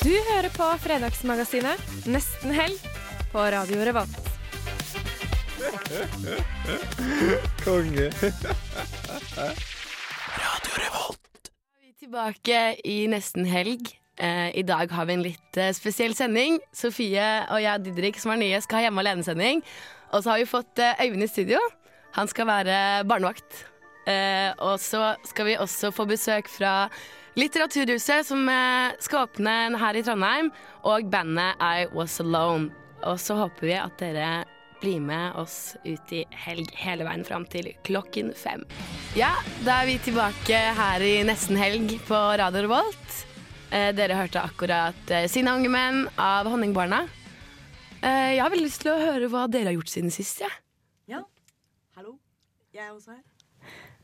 Du hører på Fredagsmagasinet, nesten helg, på Radio Revolt. Konge. Vi er tilbake i nesten helg. Eh, I dag har vi en litt eh, spesiell sending. Sofie og jeg, Didrik, som er nye, skal ha hjemme alene-sending. Og så har vi fått eh, Øyvind i studio. Han skal være barnevakt. Eh, og så skal vi også få besøk fra Litteraturhuset, som eh, skal åpne her i Trondheim, og bandet I Was Alone. Og så håper vi at dere blir med oss ut i helg hele veien fram til klokken fem. Ja, da er vi tilbake her i nesten helg på Radio Revolt. Eh, dere hørte akkurat eh, 'Sine unge menn' av Honningbarna. Eh, jeg har veldig lyst til å høre hva dere har gjort siden sist, jeg. Hallo, jeg er også her.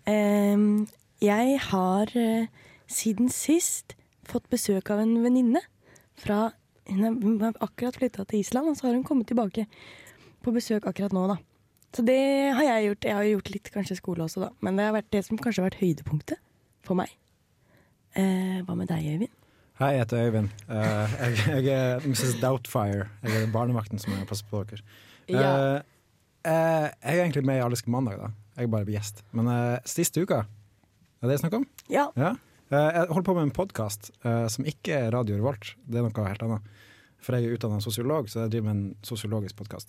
Ehm, jeg har eh, siden sist fått besøk av en venninne. Fra Hun er- hun har akkurat flytta til Island, og så har hun kommet tilbake på besøk akkurat nå, da. Så det har jeg gjort. Jeg har gjort litt kanskje skole også, da. Men det har vært det som kanskje har vært høydepunktet for meg. Eh, hva med deg, Øyvind? Hei, jeg heter Øyvind. Eh, jeg, jeg er Mrs. Doubtfire. Jeg er den barnevakten som jeg passer på dere. Ja. Eh, eh, jeg er egentlig med i Alisk mandag, da. Jeg er bare gjest. Men eh, siste uka, er det det jeg snakker om? Ja. Eh, jeg holder på med en podkast som ikke er Radio Revolt. Det er noe helt annet. For jeg er utdanna sosiolog, så jeg driver med en sosiologisk podkast.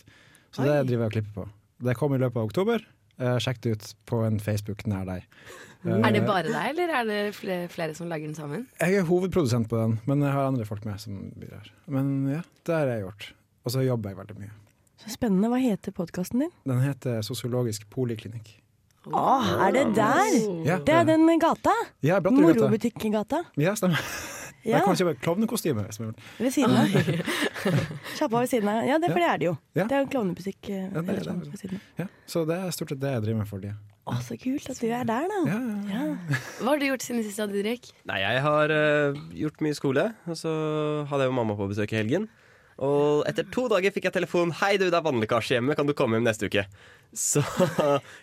Så det Oi. driver jeg og klipper på. Det kom i løpet av oktober. Eh, Sjekk det ut på en Facebook nær deg. Eh, Er Eh. det bare deg, eller er det flere, flere som lager den sammen? Jeg er hovedprodusent på den, men jeg har andre folk med som blir her. Men ja, det har jeg gjort. Og så jobber jeg veldig mye. Så spennende. Hva heter podkasten din? Den heter Sosiologisk poliklinikk. Å, er det der? Ja, Det er den gata. Ja, Bratterigata. Morobutikkgata. Ja, stemmer. Ja, Jeg kan kjøpe klovnekostyme. hvis jeg vil. ved siden av. Sjappa ved siden av. Ja, det, for det er det jo. Ja. Det er jo klovnemusikk. eh, det er det. reklame ved siden av. Ja, så det er stort sett det jeg driver med for tida. Å, så kult at du er der, da. Ja, ja, ja. Hva har du gjort siden sist, da, Didrik? Nei, jeg har eh, gjort mye skole, og så hadde jeg jo mamma på besøk i helgen. Og etter to dager fikk jeg telefon. 'Hei, du, det er vannlekkasje hjemme. Kan du komme hjem neste uke?' Så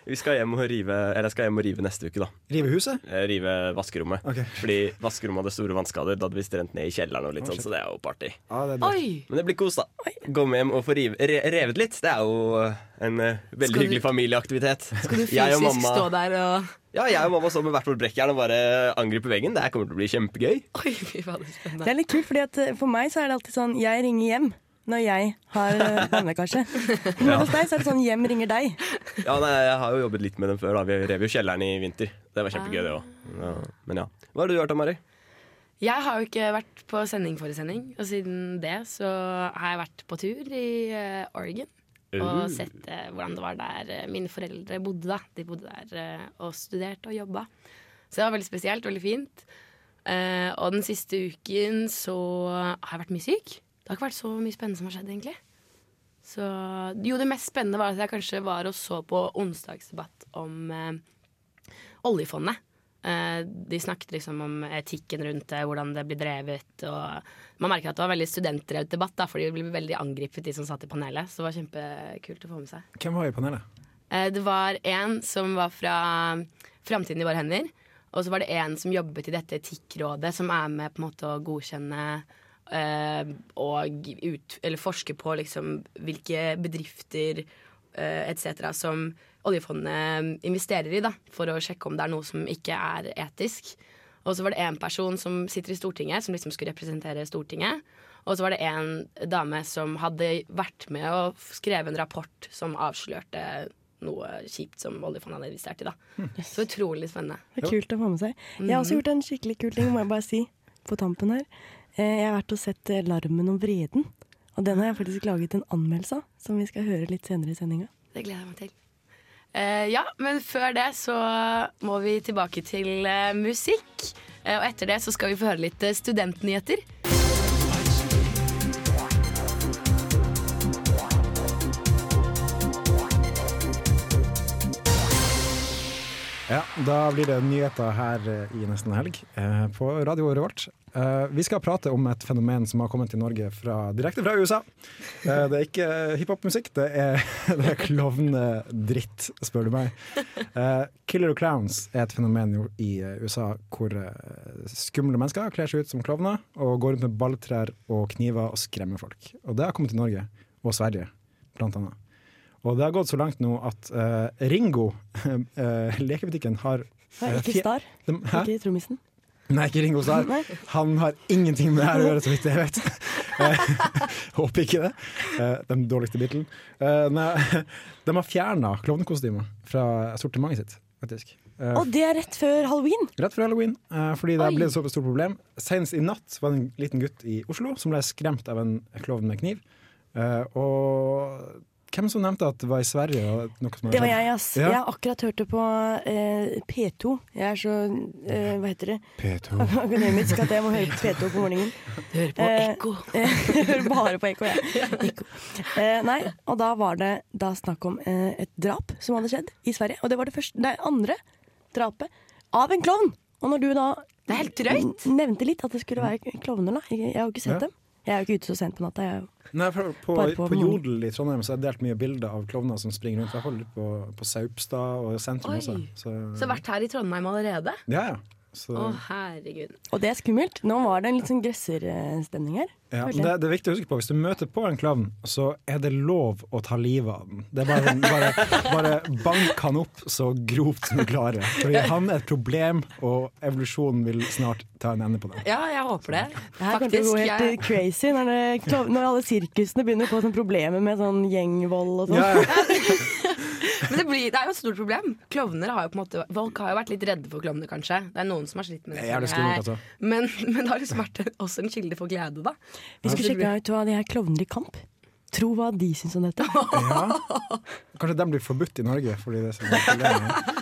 vi skal hjem og rive Eller jeg skal hjem og rive neste uke, da. Rive huset? Eh, Rive vaskerommet. Ok. Fordi vaskerommet hadde store vannskader. Da hadde vi strent ned i kjelleren og litt sånn, så det er jo party. Ja, det er det. Oi! Men det blir kos, da. Komme hjem og få rive, re, revet litt. Det er jo eh, en eh, veldig Skal du- hyggelig familieaktivitet. Skal du Jeg fysisk og mamma- stå der og Ja, jeg og mamma står med hvert vårt brekkjern og bare angriper veggen. Det her kommer til å bli kjempegøy. Oi, fy fader, spennende. Det er litt kult, fordi at eh, for meg så er det alltid sånn jeg ringer hjem når jeg har eh, vannlekkasje. Men hos deg så er det sånn hjem ringer deg. Ja, nei, Jeg har jo jobbet litt med den før. da Vi rev jo kjelleren i vinter. Det var kjempegøy, det òg. Ja. Men ja. Hva har du gjort da, Mari? Jeg har jo ikke vært på sending forrige sending, og siden det så har jeg vært på tur i eh, Oregon. Og sett eh, hvordan det var der eh, mine foreldre bodde. da De bodde der eh, og studerte og jobba. Så det var veldig spesielt, veldig fint. Eh, og den siste uken så har jeg vært mye syk. Det har ikke vært så mye spennende som har skjedd, egentlig. Så, jo, det mest spennende var at jeg kanskje var og så på onsdagsdebatt om eh, oljefondet. Eh, De snakket liksom om etikken rundt det, hvordan det blir drevet. Og man merker at det var veldig studentdrevet debatt, da, for de ble veldig angrepet, de som satt i panelet. Så det var kjempekult å få med seg. Hvem var i panelet? Eh, Det var en som var fra um, Framtiden i våre hender. Og så var det en som jobbet i dette Etikkrådet, som er med på en måte å godkjenne eh, og ut, eller forske på liksom hvilke bedrifter eh, etc. som oljefondet investerer i, da, for å sjekke om det er noe som ikke er etisk. Og så var det en person som sitter i Stortinget, som liksom skulle representere Stortinget. Og så var det en dame som hadde vært med og skrevet en rapport som avslørte noe kjipt som oljefondet hadde investert i. da. Så utrolig spennende. Det er kult å få med seg. Jeg har Mm. også gjort en skikkelig kul ting, må jeg bare si, på tampen her. Eh, Jeg har vært og sett eh, 'Larmen om vreden', og den har jeg faktisk laget en anmeldelse av, som vi skal høre litt senere i sendinga. Det gleder jeg meg til. Eh, ja, men før det så må vi tilbake til eh, musikk. Eh, og etter det så skal vi få høre litt eh, studentnyheter. Ja, Da blir det nyheter her eh, i nesten helg eh, på Radio Revolt. Eh, Vi skal prate om et fenomen som har kommet til Norge fra, direkte fra USA. Eh, Det er ikke eh, hiphop-musikk, det er, det er klovnedritt, spør du meg. Eh, Killer Clowns er et fenomen jo i eh, USA hvor eh, skumle mennesker kler seg ut som klovner og går rundt med balltrær og kniver og skremmer folk. Og det har kommet til Norge, og Sverige, blant annet. Og det har gått så langt nå at eh, Ringo, eh, lekebutikken, har Nei, eh, ikke fje- Star. De, hæ? Ikke trommisen. Nei, ikke Ringo Starr. Han har ingenting med det her å gjøre, så vidt jeg vet. Eh, Håper ikke det. Eh, Den dårligste Beatlen. Eh, Nei, de har fjerna klovnekostymet fra sortimentet sitt, faktisk. Eh, Og det er rett før halloween! Rett før halloween, eh, fordi det Oi. ble et såpass stort problem. Senest i natt var det en liten gutt i Oslo som ble skremt av en klovn med kniv. Eh, og hvem som nevnte at det var i Sverige? og Noe som hadde Det var skjedd? jeg, ass. Ja. Jeg har akkurat hørt det på eh, P2. Jeg er så eh, Hva heter det? P2. Akademisk at jeg må høre på P2 på morgenen. Eh, Du hører på ekko. jeg hører bare på ekko, jeg. Ekko. Eh, nei, og da var det da snakk om eh, et drap som hadde skjedd i Sverige. Og det var det første, det andre drapet av en klovn! Og når du da nevnte litt at det skulle være klovner, da. Jeg, jeg har jo ikke sett Ja. dem. Jeg er jo ikke ute så sent på natta. Jeg er jo Nei, for på, Bare på, på Jodel i Trondheim så har jeg delt mye bilder av klovner som springer rundt. Jeg holder på, på Saupstad og sentrum Oi. også. Så, Så vært her i Trondheim allerede? ja, ja. Så, Å, herregud. Og det er skummelt. Nå var det en litt sånn gresserstemning her. ja. følte Men jeg. det, det er viktig å huske på hvis du møter på en klovn, så er det lov å ta livet av den. Det er bare, sånn, bare, bare bank han opp så grovt som du klarer. Fordi han er et problem, og evolusjonen vil snart ta en ende på det. Ja, jeg håper det. Det her kommer til å gå Faktisk, helt jeg- eh, crazy når, det, klov- når alle sirkusene begynner å få sånne problemer med sånn gjengvold og sånn. Ja, ja. Men det, blir, det er jo et stort problem. Klovner har jo på en måte Folk har jo vært litt redde for klovner, kanskje. Det er noen som har slitt med Det det. er jævlig skummelt, altså. Men, men det har liksom vært en- også en kilde for glede, da. Vi skulle sjekke ut hva de her klovner i kamp. Tro hva de syns om dette. Kanskje den blir forbudt i Norge fordi det er så mye problemer.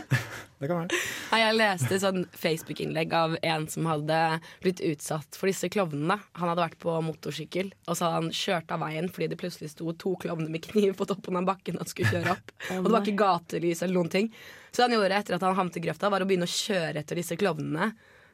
Det kan være. Nei, Jeg leste sånn Facebook-innlegg av en som hadde blitt utsatt for disse klovnene. Han hadde vært på motorsykkel, og så hadde han kjørt av veien fordi det plutselig sto to klovner med kniv på toppen av bakken han skulle kjøre opp. Og det var ikke gatelys eller noen ting. Så det han gjorde etter at han havnet i grøfta, var å begynne å kjøre etter disse klovnene.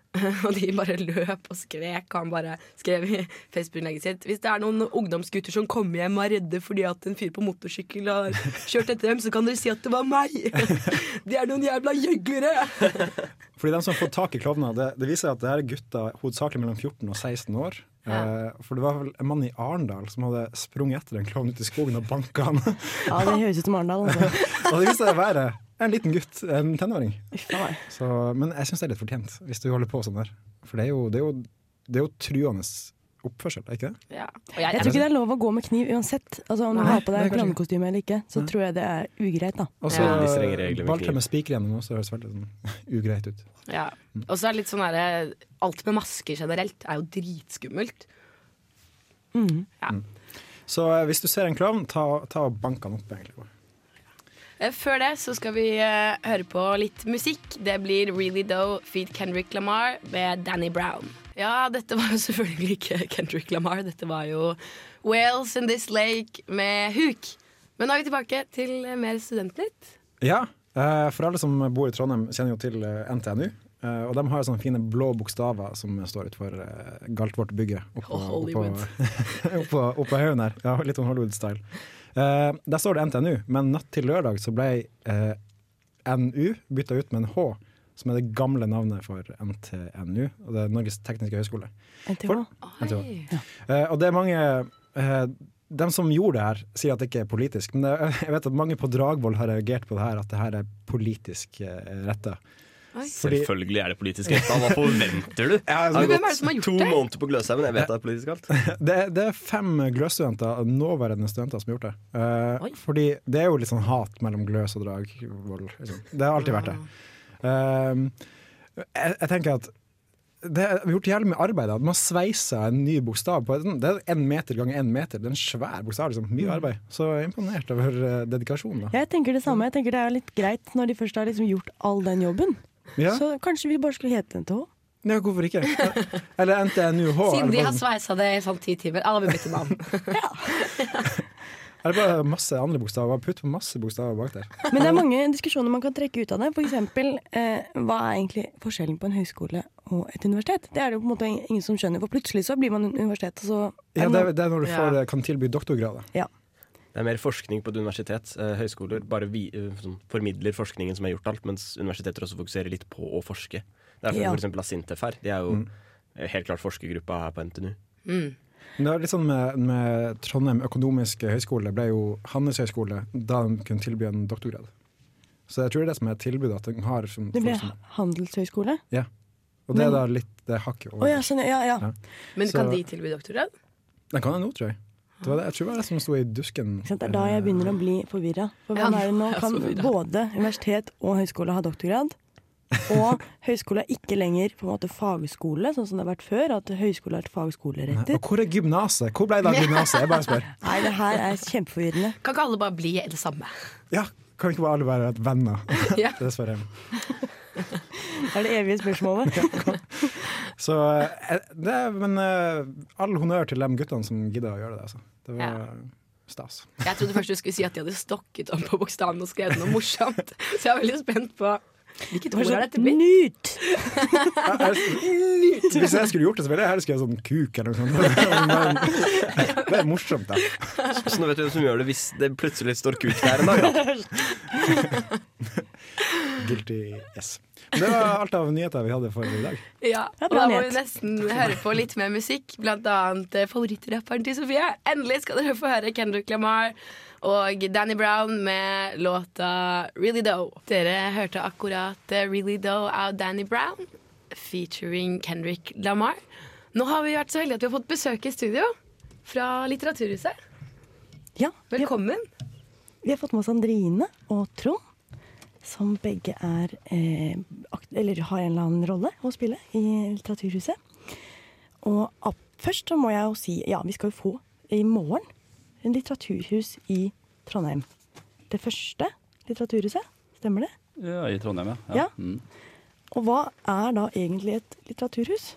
Og de bare løp og skrek. Han bare skrev i Facebook-innlegget sitt Hvis det er noen ungdomsgutter som kommer hjem og er redde fordi at en fyr på motorsykkel har kjørt etter dem, så kan dere si at det var meg! De er noen jævla gjøglere! Fordi de som har fått tak i klovner, det, det viser at det her er gutter hovedsakelig mellom 14 og 16 år. Ja. Eh, for det var vel en mann i Arendal som hadde sprunget etter en klovn ute i skogen og banka han. Ja, Det høres ut som Arendal. Altså. og det viste seg å være en liten gutt, en tenåring. Uff a meg. Så, men jeg syns det er litt fortjent, hvis du holder på sånn der. For det er jo, det er jo, det er jo truende oppførsel, er ikke det? Ja. Jeg tror ikke det er lov å gå med kniv uansett. Altså Om du Nei, har på det deg er kanskje klovnekostyme eller ikke, så tror jeg det er ugreit. da Og så Ja. Veldig strenge regler med balltre kniv. med spiker gjennom også, det høres veldig sånn ugreit ut. Ja. Og så er det litt sånn derre Alt med masker generelt er jo dritskummelt. Ja. Så eh, hvis du ser en klovn, ta, ta og bank han opp, egentlig. Eh, Før det så skal vi eh, høre på litt musikk. Det blir Really Dough feed Kendrick Lamar med Danny Brown. Ja, dette var jo selvfølgelig ikke Kendrick Lamar. Dette var jo Wales in This Lake med Huk. Men nå er vi tilbake til eh, mer studentnytt. Ja, eh, for alle som bor i Trondheim kjenner jo til eh, NTNU. eh, Og de har sånne fine blå bokstaver som står utenfor eh, galt vårt bygge. Oppå, Og Hollywood. Oppå, oppå, oppå haugen her. Ja, litt sånn Hollywood-style. Eh, der står det NTNU, men natt til lørdag så ble eh, NU bytta ut med en H, som er det gamle navnet for NTNU. Og det er Norges tekniske høgskole. NTH. For- NTH. Eh, og det er mange eh, De som gjorde det her, sier at det ikke er politisk. Men det, jeg vet at mange på Dragvoll har reagert på det her, at det her er politisk eh, retta. Fordi- Selvfølgelig er det politisk rett. Hva forventer du? altså- Jeg Men hvem er det som har gjort to det? måneder på Gløshaugen, jeg vet det er politisk alt. Det, det er fem gløsstudenter, nåværende studenter, som har gjort det. Eh, Oi. fordi det er jo litt sånn hat mellom gløs og Dragvoll. Liksom. Det har alltid vært det. Eh, jeg, jeg tenker at det er vi har gjort jævlig mye arbeid. da. Man sveiser en ny bokstav på den. Det er én meter ganger én meter. Det er en svær bokstav. liksom. Mye arbeid. Så jeg er imponert over eh, dedikasjonen. da. Jeg tenker det samme. Jeg tenker Det er litt greit når de først har liksom gjort all den jobben. Ja. Så kanskje vi bare skulle hete NTH. Nei, hvorfor ikke? Eller NTNUH. Siden de eller har hva- sveisa det i sånn ti timer. Alle vil bytte navn. Er det bare masse andre bokstaver? Bare Putt masse bokstaver bak der. Men det er mange diskusjoner man kan trekke ut av det. For eksempel, eh, hva er egentlig forskjellen på en høyskole og et universitet? Det er det jo på en måte ingen som skjønner, for plutselig så blir man universitet, og så Ja, det, er- det er når du Ja. får, eh, kan tilby doktorgrader. Ja. Det er mer forskning på et universitet. Eh, høyskoler bare vi, eh, sånn, formidler forskningen som er gjort alt, mens universiteter også fokuserer litt på å forske. Derfor Ja. for eksempel Asintef her. De er jo eh, helt klart forskergruppa her på NTNU. Men Det var litt sånn med, med Trondheim økonomiske høgskole ble jo Hannes høgskole da de kunne tilby en doktorgrad. Så jeg tror det er det som er tilbudet. At de har som, Det folk ble som, handelshøyskole. ja. Og det Men- er da litt det er hakket over. Å ja, sånn, ja, ja. Men Så- kan de tilby doktorgrad? Den kan jeg nå, tror jeg. Det var det, jeg tror det var det som sto i dusken. Det er da jeg begynner å bli forvirra. For hvem Ja, er det nå jeg er kan så forvirret. både universitet og høyskole ha doktorgrad? Og høyskole er ikke lenger på en måte fagskole, sånn som det har vært før. At høyskole er Nei, fagskolerettet. Og hvor er gymnaset? Hvor ble det av gymnaset? Jeg bare spør. Nei, det her er kjempeforvirrende. Kan ikke alle bare bli det samme? Ja, kan vi ikke bare alle være venner? Ja. Dessverre. Det er det evige spørsmålet. Så, eh, det, er- men eh, all honnør til de guttene som gidder å gjøre det. Altså. Det var Ja. stas. Jeg trodde først du skulle si at de hadde stokket om på bokstavene og skrevet noe morsomt. Så jeg er veldig spent på sånn hvilket ord er dette blitt? Nyt! Hvis jeg skulle gjort det, så ville jeg heller skrevet sånn kuk eller noe sånt. Men Det er morsomt, da. Så nå vet du hvem som gjør det hvis det plutselig står kuk der en dag. Da. Guilty yes. Men Det var alt av nyheter vi hadde for i dag. Ja, Ja, og bra da må vi nyhet. nesten høre på litt mer musikk, blant annet eh, favorittrapperen til Sofie. Endelig skal dere få høre Kendrick Lamar og Danny Brown med låta Really Dough. Dere hørte akkurat eh, Really Dough av Danny Brown featuring Kendrick Lamar. Nå har vi vært så heldige at vi har fått besøk i studio fra Litteraturhuset. Ja, vi har, Velkommen. vi har fått med oss Andrine og Trond. Som begge er eh, akt Eller har en eller annen rolle å spille i Litteraturhuset. Og ap- først så må jeg jo si Ja, vi skal jo få i morgen en litteraturhus i Trondheim. Det første litteraturhuset. Stemmer det? Ja, I Trondheim, ja. Ja. Mm. Og hva er da egentlig et litteraturhus?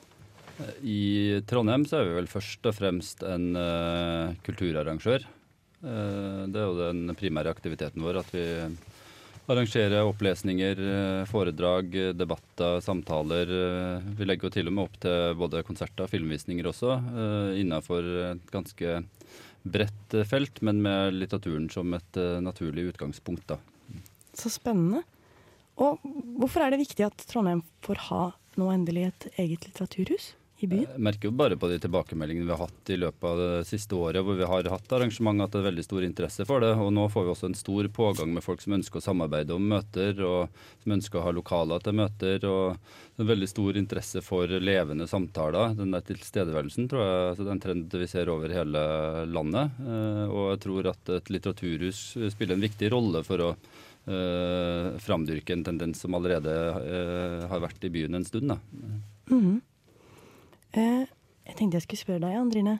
I Trondheim så er vi vel først og fremst en eh, kulturarrangør. Eh, det er jo den primære aktiviteten vår, at vi arrangerer opplesninger, eh, foredrag, eh, debatter, samtaler. eh, vi legger jo til og med opp til både konserter og filmvisninger også, eh, innenfor et ganske bredt eh, felt, men med litteraturen som et eh, naturlig utgangspunkt, da. Så spennende. Og hvorfor er det viktig at Trondheim får ha nå endelig et eget litteraturhus i byen? Jeg merker jo bare på de tilbakemeldingene vi har hatt i løpet av det siste året, hvor vi har hatt arrangement, at det er veldig stor interesse for det. Og nå får vi også en stor pågang med folk som ønsker å samarbeide om møter, og som ønsker å ha lokaler til møter. Og det er veldig stor interesse for levende samtaler. Den der tilstedeværelsen tror jeg altså det er en trend vi ser over hele landet. Eh, Og jeg tror at et litteraturhus spiller en viktig rolle for å eh, framdyrke en tendens som allerede eh, har vært i byen en stund. da. Mhm. Eh, jeg tenkte jeg skulle spørre deg, Andrine.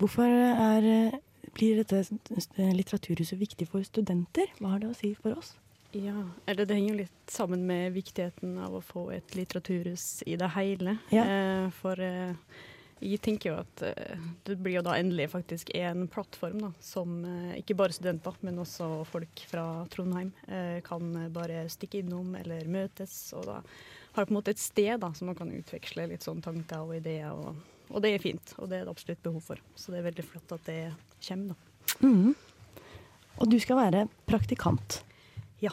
Hvorfor er, eh, blir dette s- s- litteraturhuset viktig for studenter? Hva har det å si for oss? Ja, eller det henger jo litt sammen med viktigheten av å få et litteraturhus i det hele. Ja. Eh, for eh, jeg tenker jo at eh, det blir jo da endelig faktisk en plattform da, som eh, ikke bare studenter, men også folk fra Trondheim eh, kan bare stikke innom eller møtes. Og da har på en måte et sted da, som man kan utveksle litt sånn tanker og ideer. Og, og det er fint, og det er det absolutt behov for. Så det er veldig flott at det kommer, da. Mhm. Og du skal være praktikant. Ja.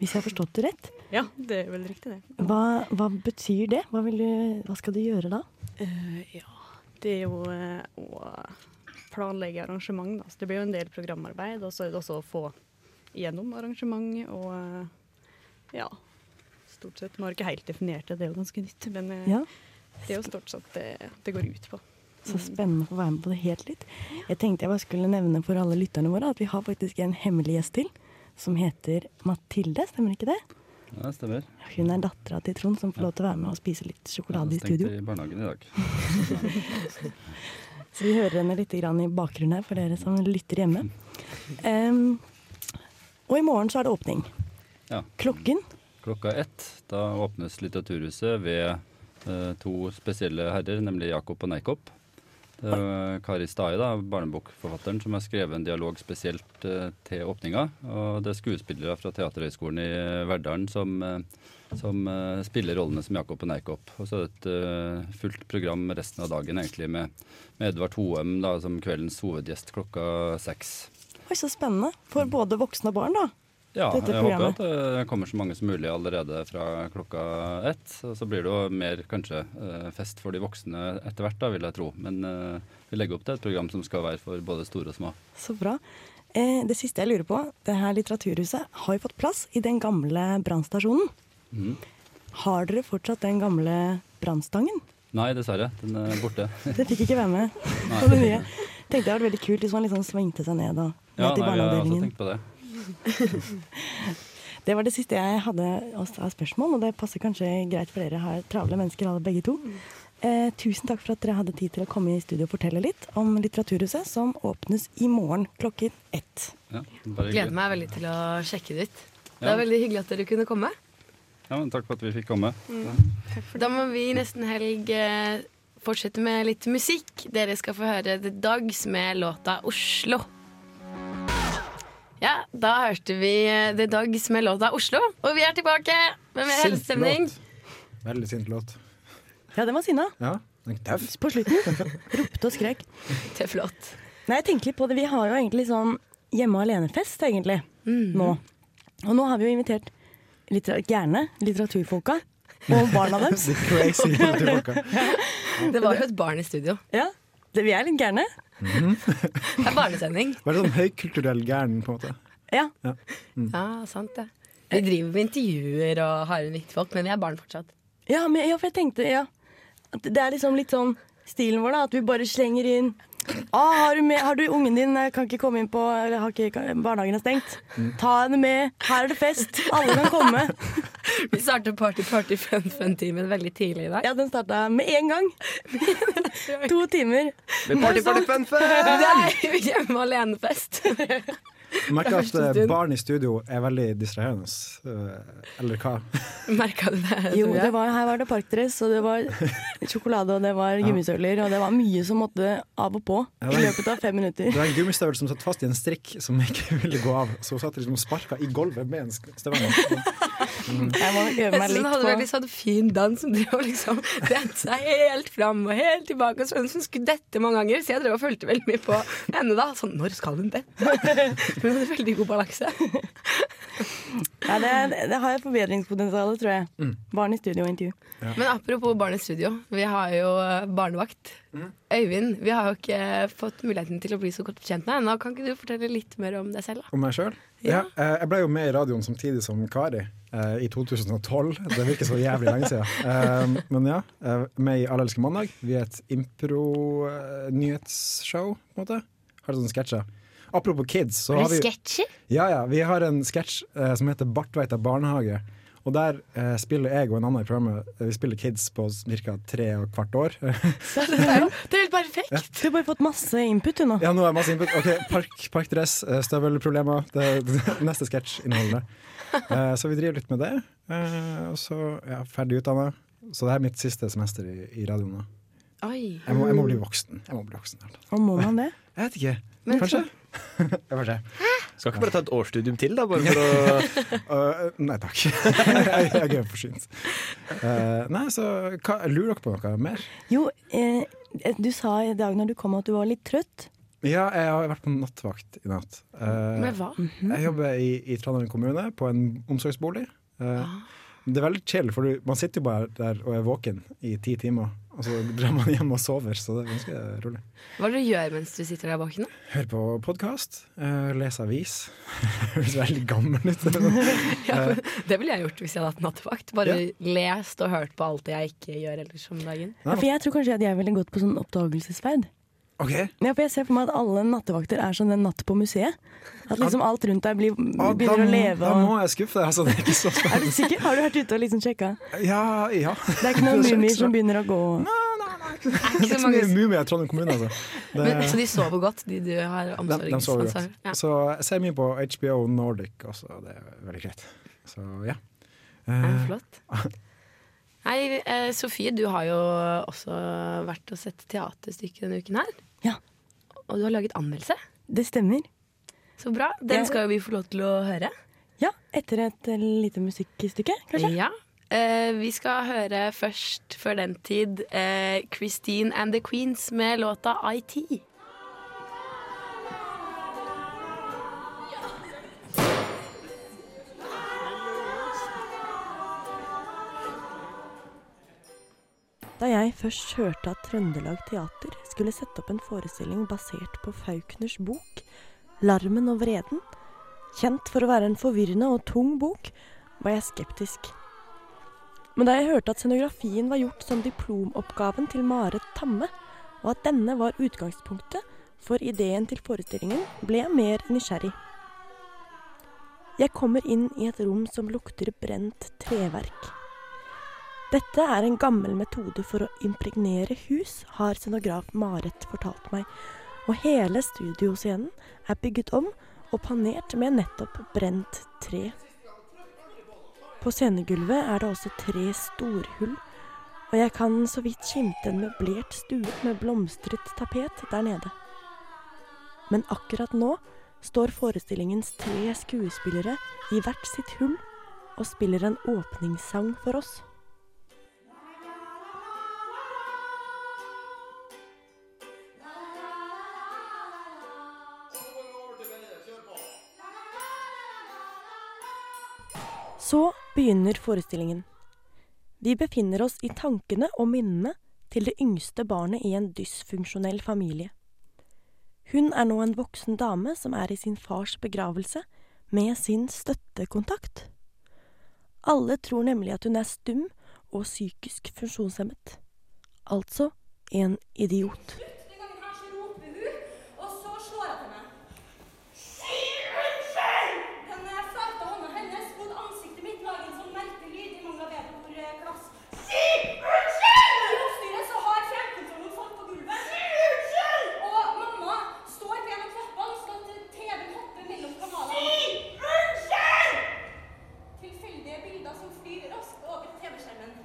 Hvis jeg har forstått det rett. Ja, det er veldig riktig, det. Hva, hva betyr det? Hva, vil du, hva skal du gjøre da? Eh, ja, det er jo eh, å planlegge arrangement, da. Så det blir jo en del programarbeid, og så er det også å få gjennom arrangement og eh, ja. Stort sett. Man har ikke helt definert det, det er jo ganske nytt. Men eh, Ja. det er jo stort sett det det går ut på. Så spennende å få være med på det helt litt. Jeg tenkte jeg bare skulle nevne for alle lytterne våre at vi har faktisk en hemmelig gjest til. Som heter Mathilde, stemmer ikke det? Ja, det stemmer. Hun er dattera til Trond som får lov til å være med og spise litt sjokolade i Jeg stengte studio. i barnehagen i dag. Så vi hører henne litt grann i bakgrunnen her for dere som lytter hjemme. Em, og i morgen så er det åpning. Ja. Klokken Klokka ett da åpnes Litteraturhuset ved eh, to spesielle herrer, nemlig Jakob og Neikopp. Det var Kari Stai, da, barnebokforfatteren, som har skrevet en dialog spesielt eh, til åpninga. Og det er skuespillere fra Teaterhøgskolen i Verdalen som, eh, som eh, spiller rollene som Jakob og Neikop. Og så er det et eh, fullt program resten av dagen egentlig med, med Edvard Hoem da, som kveldens hovedgjest klokka seks. Oi, så spennende. For både voksne og barn, da. Ja, dette jeg håper programmet. at det kommer så mange som mulig allerede fra klokka ett. Og så blir det jo mer kanskje eh, fest for de voksne etter hvert, da, vil jeg tro. Men eh, vi legger opp til et program som skal være for både store og små. Så bra. Eh, det siste jeg lurer på, det her litteraturhuset har jo fått plass i den gamle brannstasjonen. Mhm. Har dere fortsatt den gamle brannstangen? Nei, dessverre. Den er borte. Det fikk ikke være med Nei. på det nye. Tenkte det hadde vært veldig kult hvis man liksom svingte seg ned og ned Ja, til nei, vi har altså også barneavdelingen. tenkt på det. Det var det siste jeg hadde også av spørsmål, og det passer kanskje greit for dere har travle mennesker alle begge to. Eh, tusen takk for at dere hadde tid til å komme i studio og fortelle litt om Litteraturhuset, som åpnes i morgen klokken ett. Ja, bare Gleder hyggelig. meg veldig til å sjekke det ut. Det Ja. var veldig hyggelig at dere kunne komme. Ja, men takk for at vi fikk komme. Da må vi nesten helg eh, fortsette med litt musikk. Dere skal få høre The Dogs med låta 'Oslo'. Ja, da hørte vi eh, The Dogs med låta 'Oslo', og vi er tilbake med mer Sint helsestemning. låt. Veldig sint låt. Ja, den var sinna. Ja, den er tøff. På slutten. Ropte og skrek. Det er flott. Nei, jeg tenker litt på det. Vi har jo egentlig sånn hjemme alene-fest, egentlig, nå. Og nå har vi jo invitert litter gjerne litteraturfolka og barna deres. The crazy litteraturfolka. Det var jo et barn i studio. Ja, det, vi er litt gærne. Det er barnesending. Veldig sånn høykulturell gæren, på en måte. Ja. Ja. Mm. Ja, sant det. Vi driver med intervjuer og har en viktig folk, men vi er barn fortsatt. Ja, men, ja, for jeg tenkte ja. At Det er liksom litt sånn stilen vår, da. At vi bare slenger inn ah, har, du med, 'Har du ungen din? eh, Kan ikke komme inn på eller, har ikke, kan, Barnehagen er stengt. Mm. Ta henne med. Her er det fest. Alle kan komme. Vi startet Party Party Fun Fun-timen veldig tidlig i dag. Ja, den starta med én gang. to timer. Med Party Party Fun Fun! Nei, hjemme alene-fest. Jeg merker Det er første at eh, stund. barn i studio er veldig distraherende. eh, Eller hva? Merka du det? Jo, Tore? det var, her var det parkdress, og det var sjokolade, og det var gummisøler, og det var mye som måtte av og på Ja, i det- løpet av fem Det minutter. var en gummistøvel som satt fast i en strikk som ikke ville gå av. Så hun satt liksom og sparka i gulvet med en støvel. Jeg må Jeg øve meg synes litt hun hadde på veldig sånn fin dans som drev og liksom dette seg helt fram og helt tilbake. Og sånn, så hun skulle dette mange ganger, så jeg drev og fulgte veldig mye på henne da. Sånn, når skal hun dette? Hun hadde veldig god balanse. ja, det, det har jeg forbedringspotensial, tror jeg. Mm. Barn i studio og intervju. Men apropos Barn i studio, vi har jo eh, barnevakt. Mm. Øyvind, vi har jo ikke eh, fått muligheten til å bli så godt kjent med deg ennå. Kan ikke du fortelle litt mer om deg selv? da? Om meg sjøl? Ja. eh, Jeg ble jo med i radioen samtidig som Kari eh, i 2012. Det virker så jævlig lenge siden. Eh, Men ja, eh, med i Allelske mandag. Vi er et impro-nyhetsshow, på en måte. Har sånne sketsjer. Apropos kids, så har vi Ja, ja. Vi har en sketsj eh, som heter Bartveita barnehage. Og der eh, spiller jeg og en annen i programmet eh, Vi spiller kids på ca. tre og hvert år. Det er jo det er helt perfekt. Du har bare fått masse input, du nå. ja, nå har jeg masse input. Ok, Park, parkdress, eh, støvelproblemer. Det, det neste sketsj inneholder det. Eh, så vi driver litt med det. Eh, og så er jeg ferdig utdanna. Så det her er mitt siste semester i, i radioen nå. Oi. Jeg må, jeg må bli voksen. Jeg må bli voksen. Og må man det? Mm. Jeg vet ikke. Men- Kanskje? Jeg får se. Skal ikke bare ta et årsstudium til, da? Bare for å Eh, nei takk. jeg, jeg er forsynt. Eh, nei, så hva, lurer dere på noe mer? Jo, eh, du sa i dag når du kom at du var litt trøtt. Ja, jeg har vært på nattvakt i natt. Eh, Med hva? Jeg jobber i, i Trondheim kommune, på en omsorgsbolig. Eh, Det er veldig chill, for du, man sitter jo bare der og er våken i ti timer. Og så drar man hjem og sover, så det er ganske rolig. Hva er det du gjør mens du sitter der våken? da? Hører på podkast, uh, leser avis. Høres veldig gammel ut. Eh, Det ville jeg gjort hvis jeg hadde hatt nattevakt. Bare Ja. lest og hørt på alt det jeg ikke gjør ellers om dagen. Ja, for jeg tror kanskje at jeg ville gått på sånn oppdagelsesferd. Ok. Ja, for jeg ser for meg at alle nattevakter er sånn en natt på museet. At liksom alt rundt deg blir, ah, da, begynner å leve. da Og... må jeg skuffe deg, altså. Det er ikke så Er du spennende. sikker? Har du vært ute og liksom sjekka? Ja, ja. Det er ikke noen så mumier ekstra. som begynner å gå Det er ikke så mye mumier i Trondheim kommune, altså. Det- Men, så de sover godt, de du har de, de sover omsorgsansvar godt. Ja. Så jeg ser mye på HBO Nordic også, det er veldig greit. Så ja. Ja, Flott. Nei, eh, Sofie, du har jo også vært og sett teaterstykke denne uken her. Ja. Og du har laget anmeldelse. Det stemmer. Så bra. Den Jeg- skal jo vi få lov til å høre. Ja, etter et eh, lite musikkstykke, kanskje? Ja. Eh, vi skal høre først, før den tid, eh, Christine and the Queens med låta IT. Da jeg først hørte at Trøndelag Teater skulle sette opp en forestilling basert på Faulkners bok 'Larmen og vreden', kjent for å være en forvirrende og tung bok, var jeg skeptisk. Men da jeg hørte at scenografien var gjort som diplomoppgaven til Marit Tamme, og at denne var utgangspunktet for ideen til forestillingen, ble jeg mer nysgjerrig. Jeg kommer inn i et rom som lukter brent treverk. Dette er en gammel metode for å impregnere hus, har scenograf Marit fortalt meg. Og hele studioscenen er bygget om og panert med nettopp brent tre. På scenegulvet er det også tre storhull, og jeg kan så vidt skimte en møblert stue med blomstret tapet der nede. Men akkurat nå står forestillingens tre skuespillere i hvert sitt hull og spiller en åpningssang for oss. Så begynner forestillingen. Vi befinner oss i tankene og minnene til det yngste barnet i en dysfunksjonell familie. Hun er nå en voksen dame som er i sin fars begravelse med sin støttekontakt. Alle tror nemlig at hun er stum og psykisk funksjonshemmet. Altså en idiot. Og så slår jeg til meg. Si unnskyld! Den eh, flate hånda hennes mot ansiktet mitt lager en sånn merkelyd i mangel av bedre ord, eh, klass. Si unnskyld! I oppstyret så har fjernkontrollen falt på gulvet. Si unnskyld! Og mamma står ved en av knappene så at TV-en hopper mellom kanalene. Si unnskyld! Tilfeldige bilder som flyr raskt over TV-skjermen.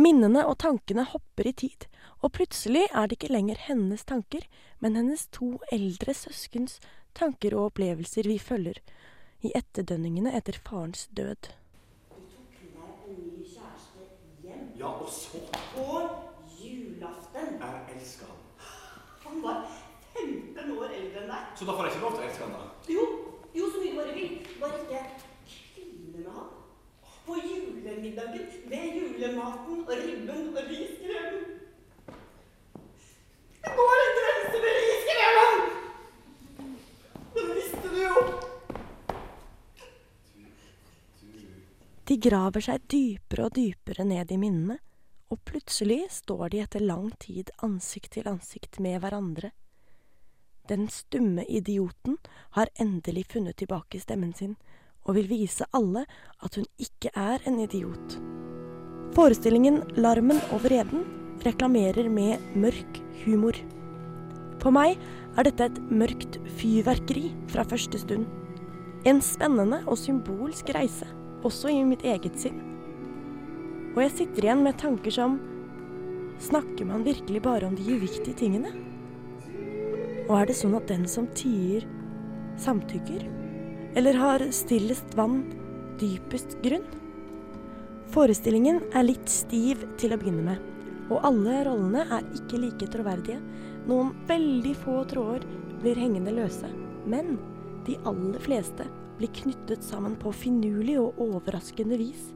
Minnene og tankene hopper i tid, og plutselig er det ikke lenger hennes tanker, men hennes to eldre søskens tanker og opplevelser vi følger, i etterdønningene etter farens død. Ja, og så På julaften. Jeg elsker han. Han var 15 år eldre enn deg. Så da får jeg ikke lov til å elske han, da? Jo, jo, så mye bare vil. Bare ikke kline med han. På julemiddagen med julematen og ribben og riskremen. Det går en grense med riskremen! Men det visste du jo. De graver seg dypere og dypere ned i minnene, og plutselig står de etter lang tid ansikt til ansikt med hverandre. Den stumme idioten har endelig funnet tilbake stemmen sin, og vil vise alle at hun ikke er en idiot. Forestillingen Larmen og vreden reklamerer med mørk humor. På meg er dette et mørkt fyrverkeri fra første stund. En spennende og symbolsk reise, også i mitt eget sinn. Og jeg sitter igjen med tanker som Snakker man virkelig bare om de uviktige tingene? Og er det sånn at den som tier, samtykker? Eller har stillest vann dypest grunn? Forestillingen er litt stiv til å begynne med, og alle rollene er ikke like troverdige. Noen veldig få tråder blir hengende løse, men de aller fleste blir knyttet sammen på finurlig og overraskende vis.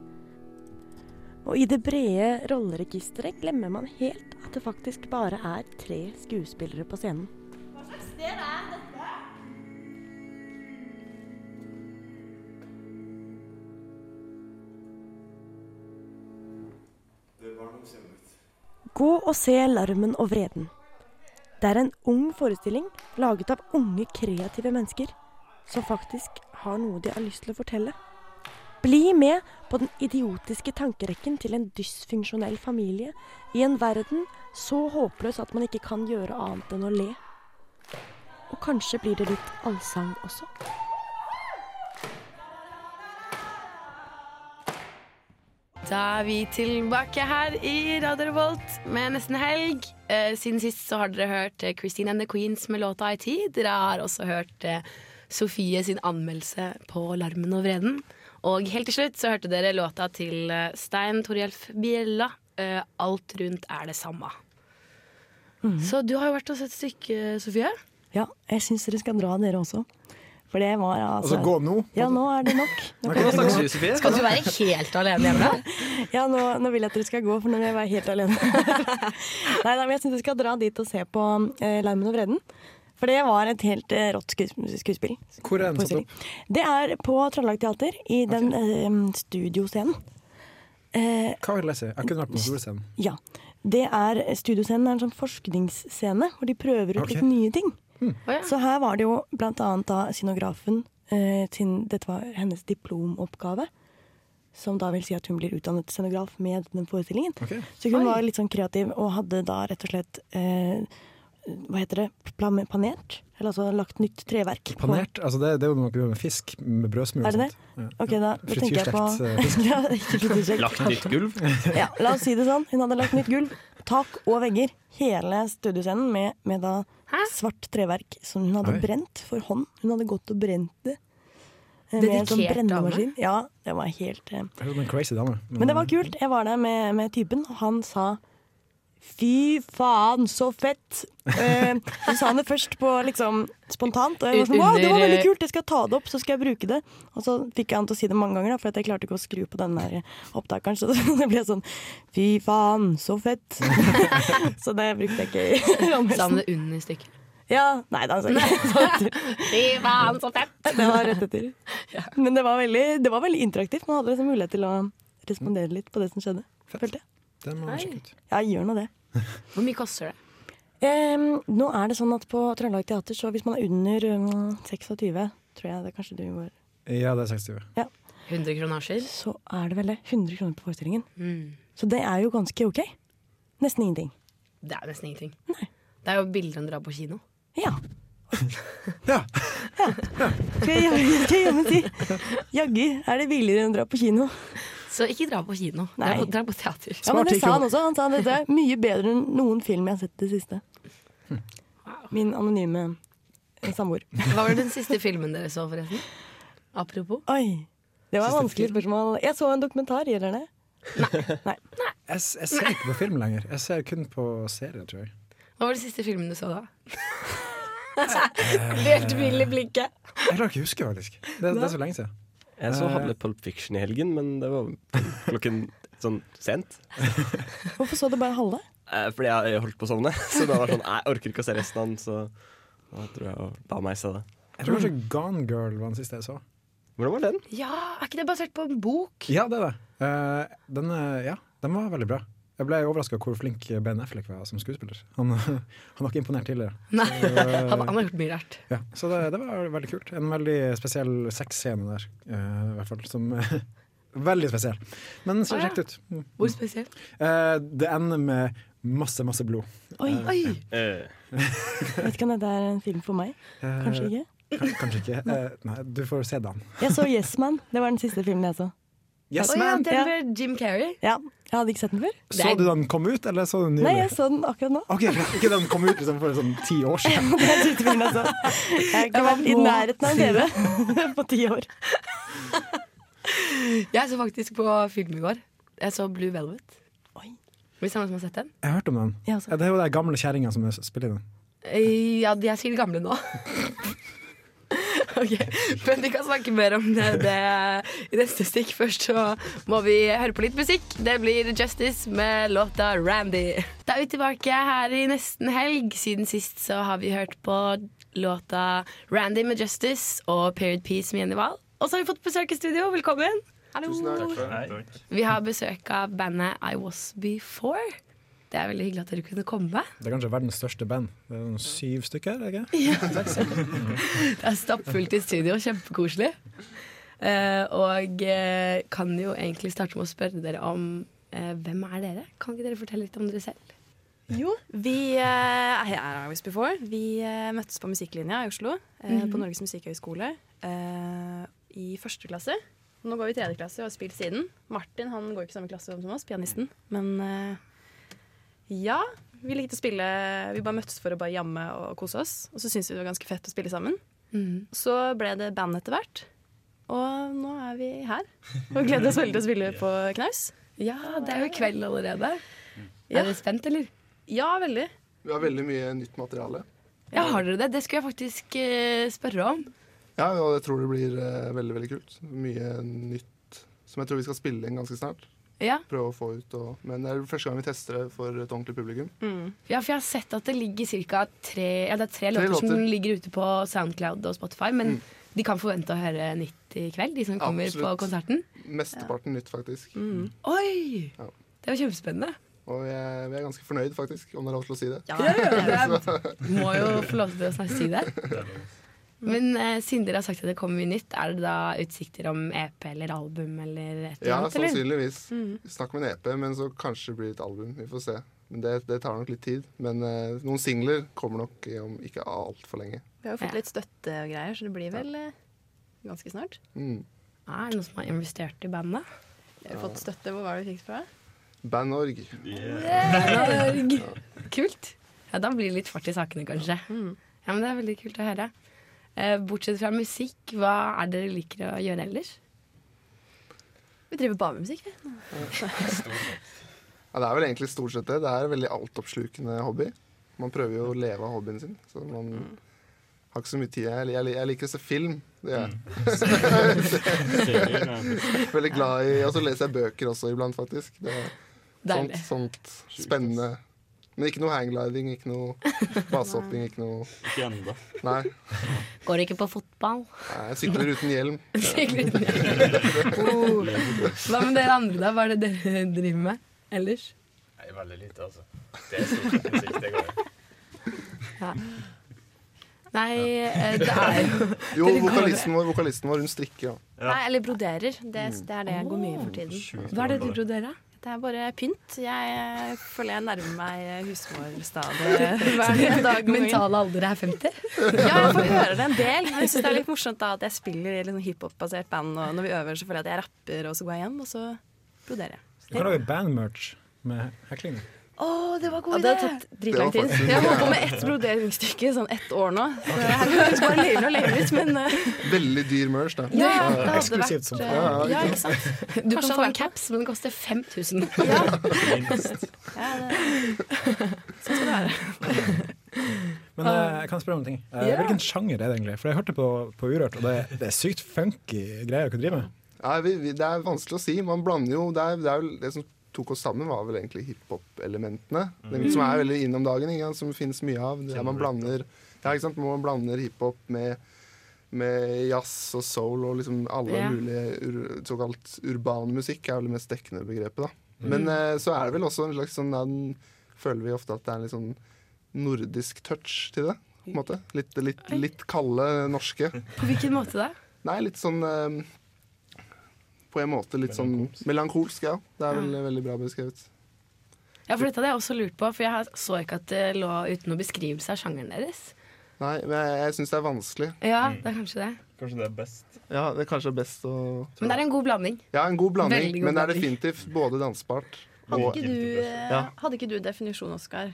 Og i det brede rolleregisteret glemmer man helt at det faktisk bare er tre skuespillere på scenen. Hva slags sted er dette? Det var noe mitt. Gå og se 'Larmen og vreden'. Det er en ung forestilling laget av unge, kreative mennesker som faktisk har noe de har lyst til å fortelle. Bli med på den idiotiske tankerekken til en dysfunksjonell familie i en verden så håpløs at man ikke kan gjøre annet enn å le. Og kanskje blir det litt allsang også. Da er vi tilbake her i Radio Revolt med nesten helg. Eh, siden sist så har dere hørt eh, Christine and the Queens med låta IT. Dere har også hørt eh, Sofie sin anmeldelse på Larmen og vreden. Og helt til slutt så hørte dere låta til eh, Stein Torhjelf Bjella, eh, Alt rundt er det samme. Så du har jo vært og sett stykket, Sofie. Ja, jeg syns dere skal dra, dere også. For det var altså Altså, gå nå? Ja, nå er det nok. Ok, nå snakkes vi, Sofie. Skal du være helt alene hjemme? ja, nå, nå vil jeg at dere skal gå, for nå vil jeg være helt alene. nei, nei, men jeg syns dere skal dra dit og se på eh, Larmen og vreden. For det var et helt eh, rått skues skuespill. Hvor er den satt Forestilling. Det er på Trøndelag Teater, i den eh, studioscenen. Eh, Hva vil jeg si? Jeg kunne vært på Solscenen. ja. Det er Studioscenen er en sånn forskningsscene hvor de prøver ut Ok. Hmm. litt nye ting. Så her var det jo blant annet da scenografen eh, sin, Dette var hennes diplomoppgave. Som da vil si at hun blir utdannet scenograf med den forestillingen. Så Oi. hun var litt sånn kreativ og hadde da rett og slett eh, Hva heter det? Plan panert? Eller altså lagt nytt treverk. på- Panert? Altså, det, det er jo noe vi gjør med fisk, med brødsmør og Er det det? sånt. Ok, da, da tenker jeg på Frityrstekt, eh, fisk. ja, ikke frityrstekt. gulv? Ja, la oss si det sånn. Hun hadde lagt nytt gulv, tak og vegger. Hele studioscenen med, med da svart treverk som hun hadde Oi. brent for hånd. Hun hadde gått og brent det. eh, Dedikert brennemaskin. dame. Ja, det var helt eh. Jeg er en crazy dame. Men det var kult. Jeg var der med, med typen, og han sa Fy faen, så fett! Eh, så sa han det først på liksom spontant. Og jeg var sånn, wow, det var Under- veldig kult, jeg skal ta det opp, så skal jeg bruke det. Og så fikk jeg han til å si det mange ganger, da, for at jeg klarte ikke å skru på den der opptakeren. Så det ble sånn fy faen, så fett. så det brukte jeg ikke i anmeldelsen. Sa han det under stykket? Ja, nei, da sa jeg ikke Fy faen, så fett! Det var rett etter. Men det var veldig, det var veldig interaktivt. Man hadde liksom mulighet til å respondere litt på det som skjedde. Følte jeg. Det må Oi. jeg sjekke ut. Ja, gjør nå det. Hvor mye koster det? Em, nå er det sånn at på Trøndelag Teater, så hvis man er under em, 26, tror jeg det er kanskje du var Ja, det er 60 år. 100 kronasjer? Så er det vel det. 100 kroner på forestillingen. Mm. Så det er jo ganske ok. Nesten ingenting. Det er nesten ingenting. Det er jo billigere enn å dra på kino. Skal jeg jammen- skal jeg jammen si. Jaggu er det billigere enn å dra på kino. Så ikke dra på kino. Dra Nei. på, dra på teater. Ja, men det sa han også. Han sa dette er mye bedre enn noen film jeg har sett det siste. Min anonyme eh, samboer. Hva var den siste filmen dere så, forresten? Apropos. Oi, det var et Siste vanskelig spørsmål. Jeg så en dokumentar, gjelder det? Jeg, s- jeg ser ikke på film lenger. Jeg ser kun på serier, tror jeg. Hva var den siste filmen du så da? Helt vill i blikket. Jeg klarer ikke å huske, faktisk. Det, det er så lenge siden. Jeg så Eh, halve Pulp Fiction i helgen, men det var klokken sånn sent. Hvorfor så du bare halve? Eh, Fordi jeg holdt på å sovne. Så da var det sånn, jeg orker ikke å se resten av den, så da tror jeg jeg ba meg se det. Jeg tror kanskje Gone Girl var den siste jeg så. Hvordan var den? Ja, er ikke det basert på en bok? Ja, det er det. Eh, den, eh, ja, den var veldig bra. Jeg ble overraska hvor flink Ben Affleck var som skuespiller. Han, han var ikke imponert tidligere. Nei, Så, han, eh, han har gjort mye rart. ja, så det, det var veldig kult. En veldig spesiell sexscene der, eh, i hvert fall. Som, eh, veldig spesiell. Men så Å, ja. sjekk det ut. Mm. Hvor spesiell? Eh, det ender med masse, masse blod. Oi. Eh, Oi. Eh, Vet ikke om dette er en film for meg. Eh, Kanskje ikke. kan- Kanskje ikke. Eh, nei, du får se den. Jeg så Yes Man. Det var den siste filmen jeg så. Yes, Å, man! Ja, den med Jim Carrey. Ja, Jeg hadde ikke sett den før. Så du den kom ut, eller så du den nylig? Nei, jeg så den akkurat nå. Ok, Ikke den kom ut liksom, for sånn ti år siden? Det er siste filmen jeg så. Jeg har ikke vært i nærheten av en TV på ti år. Jeg så faktisk på film i går. Jeg så Blue Velvet. Hvis det er noen som har sett den? Jeg har hørt om den. Ja, det er jo den gamle kjerringa som spiller i den. Eh, Ja, de er sikkert gamle nå. Ok, Men vi kan snakke mer om det, det i neste stikk. Først så må vi høre på litt musikk. Det blir Justice med låta Randy. Da er vi tilbake her i nesten helg. Siden sist så har vi hørt på låta Randy med Justice og Period Peace med Jenny Wahl. Og så har vi fått besøk i studio. Velkommen. Hallo. Vi har besøk av bandet I Was Before. Det er veldig hyggelig at dere kunne komme. Det er kanskje verdens største band. Det er noen syv stykker, er det ikke? Seks? Det er stappfullt i studio, kjempekoselig. Eh, og eh, kan jo egentlig starte med å spørre dere om eh, hvem er dere? Kan ikke dere fortelle litt om dere selv? Jo, vi eh, er her Always Before. Vi eh, møttes på musikklinja i Oslo, eh, Mhm. på Norges musikkhøgskole, eh, i første klasse. Nå går vi i tredje klasse og har spilt siden. Martin han går ikke samme klasse som oss, pianisten. Men eh, ja, vi likte å spille. Vi bare møttes for å bare jamme og kose oss. Og så syntes vi det var ganske fett å spille sammen. Mhm. Så ble det band etter hvert. Og nå er vi her. Og gleder oss veldig til å spille på knaus. Ja, det er jo kveld allerede. Er dere spent, eller? Ja, veldig. Vi har veldig mye nytt materiale. Ja, har dere det? Det skulle jeg faktisk eh, spørre om. Ja, og jeg tror det blir eh, veldig veldig kult. Mye nytt som jeg tror vi skal spille inn ganske snart. Ja. Prøve å få ut og, Men det er første gang vi tester det for et ordentlig publikum. Ja, for jeg har sett at det ligger cirka tre, ja, det er tre, Tre låter, som låter. Mm. ligger ute på Soundcloud og Spotify, men de kan forvente å høre nytt i kveld, de som kommer på Absolutt. konserten. Mesteparten nytt, faktisk. Oi! Ja. Det er jo kjempespennende. Og vi er, vi er ganske fornøyd, faktisk, om det er lov til å si det. Ja, Du må jo få lov til å snakke si det. Men eh, siden dere har sagt at det kommer mye nytt, er det da utsikter om EP eller album eller et eller Ja, annet? eller? sannsynligvis. Mhm. Snakk om en EP, men så kanskje det blir et album. Vi får se. Men Det, det tar nok litt tid. Men eh, noen singler kommer nok eh, om ikke altfor lenge. Vi har jo fått litt støtte og greier, så det blir vel eh, ganske snart. Mm. Ah, Er det noen som har investert i bandet? Vi har jo fått støtte. Hvor var det vi fikk det fra? Bandorg. Berg. Kult. Ja, da blir det litt fart i sakene, kanskje. Mm. Ja, men Det er veldig kult å høre. Eh, Bortsett fra musikk, hva er det dere liker å gjøre ellers? Vi driver bare med musikk, vi. Ja, det er vel egentlig stort sett det. Det er en veldig altoppslukende hobby. Man prøver jo å leve av hobbyen sin, så man Mm. har ikke så mye tid. Jeg, jeg, jeg liker å se film. Det gjør jeg. Mm. Serier, ja. Så- veldig glad i Og så leser jeg bøker også iblant, faktisk. Det er sånt, Deilig. sånt spennende. Men ikke noe hanggliding, ikke noe basehopping, ikke noe Ikke ennå. Nei. Går ikke på fotball. Nei, Jeg sykler uten hjelm. Sykler uten hjelm. Oh. Hva med dere andre, da? Hva er det dere driver med ellers? Nei, veldig lite, altså. Det er stort sett musikk, det går jo. Ja. Nei, eh, det er jo Jo, Dere går- vokalisten vår, vokalisten vår hun strikker. da. Nei, eller broderer. Det, det er det jeg går mye for tiden. Hva er det du broderer? Det er bare pynt. Jeg eh, føler jeg nærmer meg Eh, husmorstadiet hver dag. om gangen. Mentale alder er 50? Ja, jeg får høre det en del. Jeg synes det er litt morsomt da at jeg spiller i litt sånn hiphop-basert band, og når vi øver, så føler jeg at jeg rapper, og så går jeg hjem, og så broderer jeg. Du kan lage bandmerch med hekling. Å, det var god idé! Det har tatt dritlang Det var tid. faktisk- Jeg har holdt på med ett broderingsstykke i sånn ett år nå. Så det her høres bare lenger og lenger ut, men eh, Veldig dyr merch, da. Ja, ja, det hadde Eksklusivt vært, sånt. eh, Ja, ja, ikke ikke sant? Du kan få en caps, men den koster 5000. Ja. sånn skal det være. Men eh, jeg kan spørre om en ting. Eh, Ah. Ja. Hvilken sjanger er det egentlig? For jeg hørte på, på Urørt, og det, det er sykt funky greier dere driver med. Nei, vi, vi, det er vanskelig å si. Man blander jo Det, er, det, er vel, det som tok oss sammen, var vel egentlig hiphop-elementene. Den Mm. Som er veldig inn om dagen, ikke sant, som det finnes mye av. Det er man blander ja, ikke sant? Man blander hiphop med, med jazz og soul og liksom alle Ja. mulige ur, såkalt urban musikk er vel det mest dekkende begrepet. da Mm. Men eh, så er det vel også en slags sånn den, Føler vi ofte at det er en litt sånn nordisk touch til det. På en måte. Litt, litt, litt kalde norske. På hvilken måte da? Nei, litt sånn eh, På en måte litt sånn melankolsk, ja. Det er vel veldig bra beskrevet. Ja, for dette hadde jeg også lurt på, for jeg har- så ikke at det lå uten noen beskrivelse av sjangeren deres. Nei, men jeg, jeg syns det er vanskelig. Ja, det er kanskje det. Kanskje det er best. Ja, det er kanskje best å Men det er en god blanding. Ja, en god blanding, Veldig god men det er blanding. definitivt både dansbart Hadde ikke du, eh, Ja. hadde ikke du definisjon, Oskar?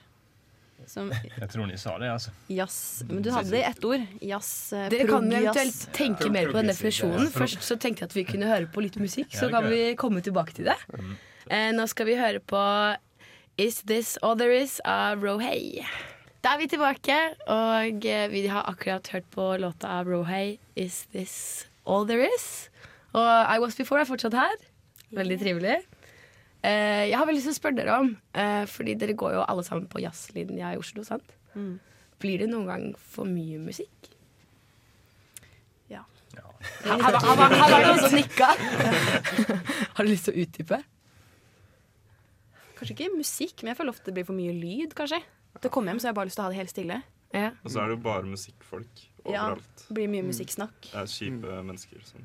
Som Jeg tror de sa det, altså. jazz Men Mm. du hadde det i ett ord. Jazz. eh, Dere kan jo prog-jazz. eventuelt tenke mer på den definisjonen. Først så tenkte jeg at vi kunne høre på litt musikk, så kan vi komme tilbake til det. Eh, nå skal vi høre på Is This All There Is av Rohei. Da er vi tilbake, og eh, vi har akkurat hørt på låta av Rohei, Is This All There Is. Og I Was Before er fortsatt her. Veldig trivelig. Eh, jeg har veldig lyst til å spørre dere om, eh, fordi dere går jo alle sammen på jazzlinja i Oslo, sant? Mm. Blir det noen gang for mye musikk? Ja. Her her- her- her- her var det noen som nikka. Har du lyst til å utdype? Kanskje ikke musikk, men jeg føler ofte det blir for mye lyd, kanskje. Til å komme hjem så har jeg bare lyst til å ha det helt stille. Og så er det jo bare musikkfolk Ja, overalt. det blir mye musikksnakk. Det er kjipe mennesker. Sånn.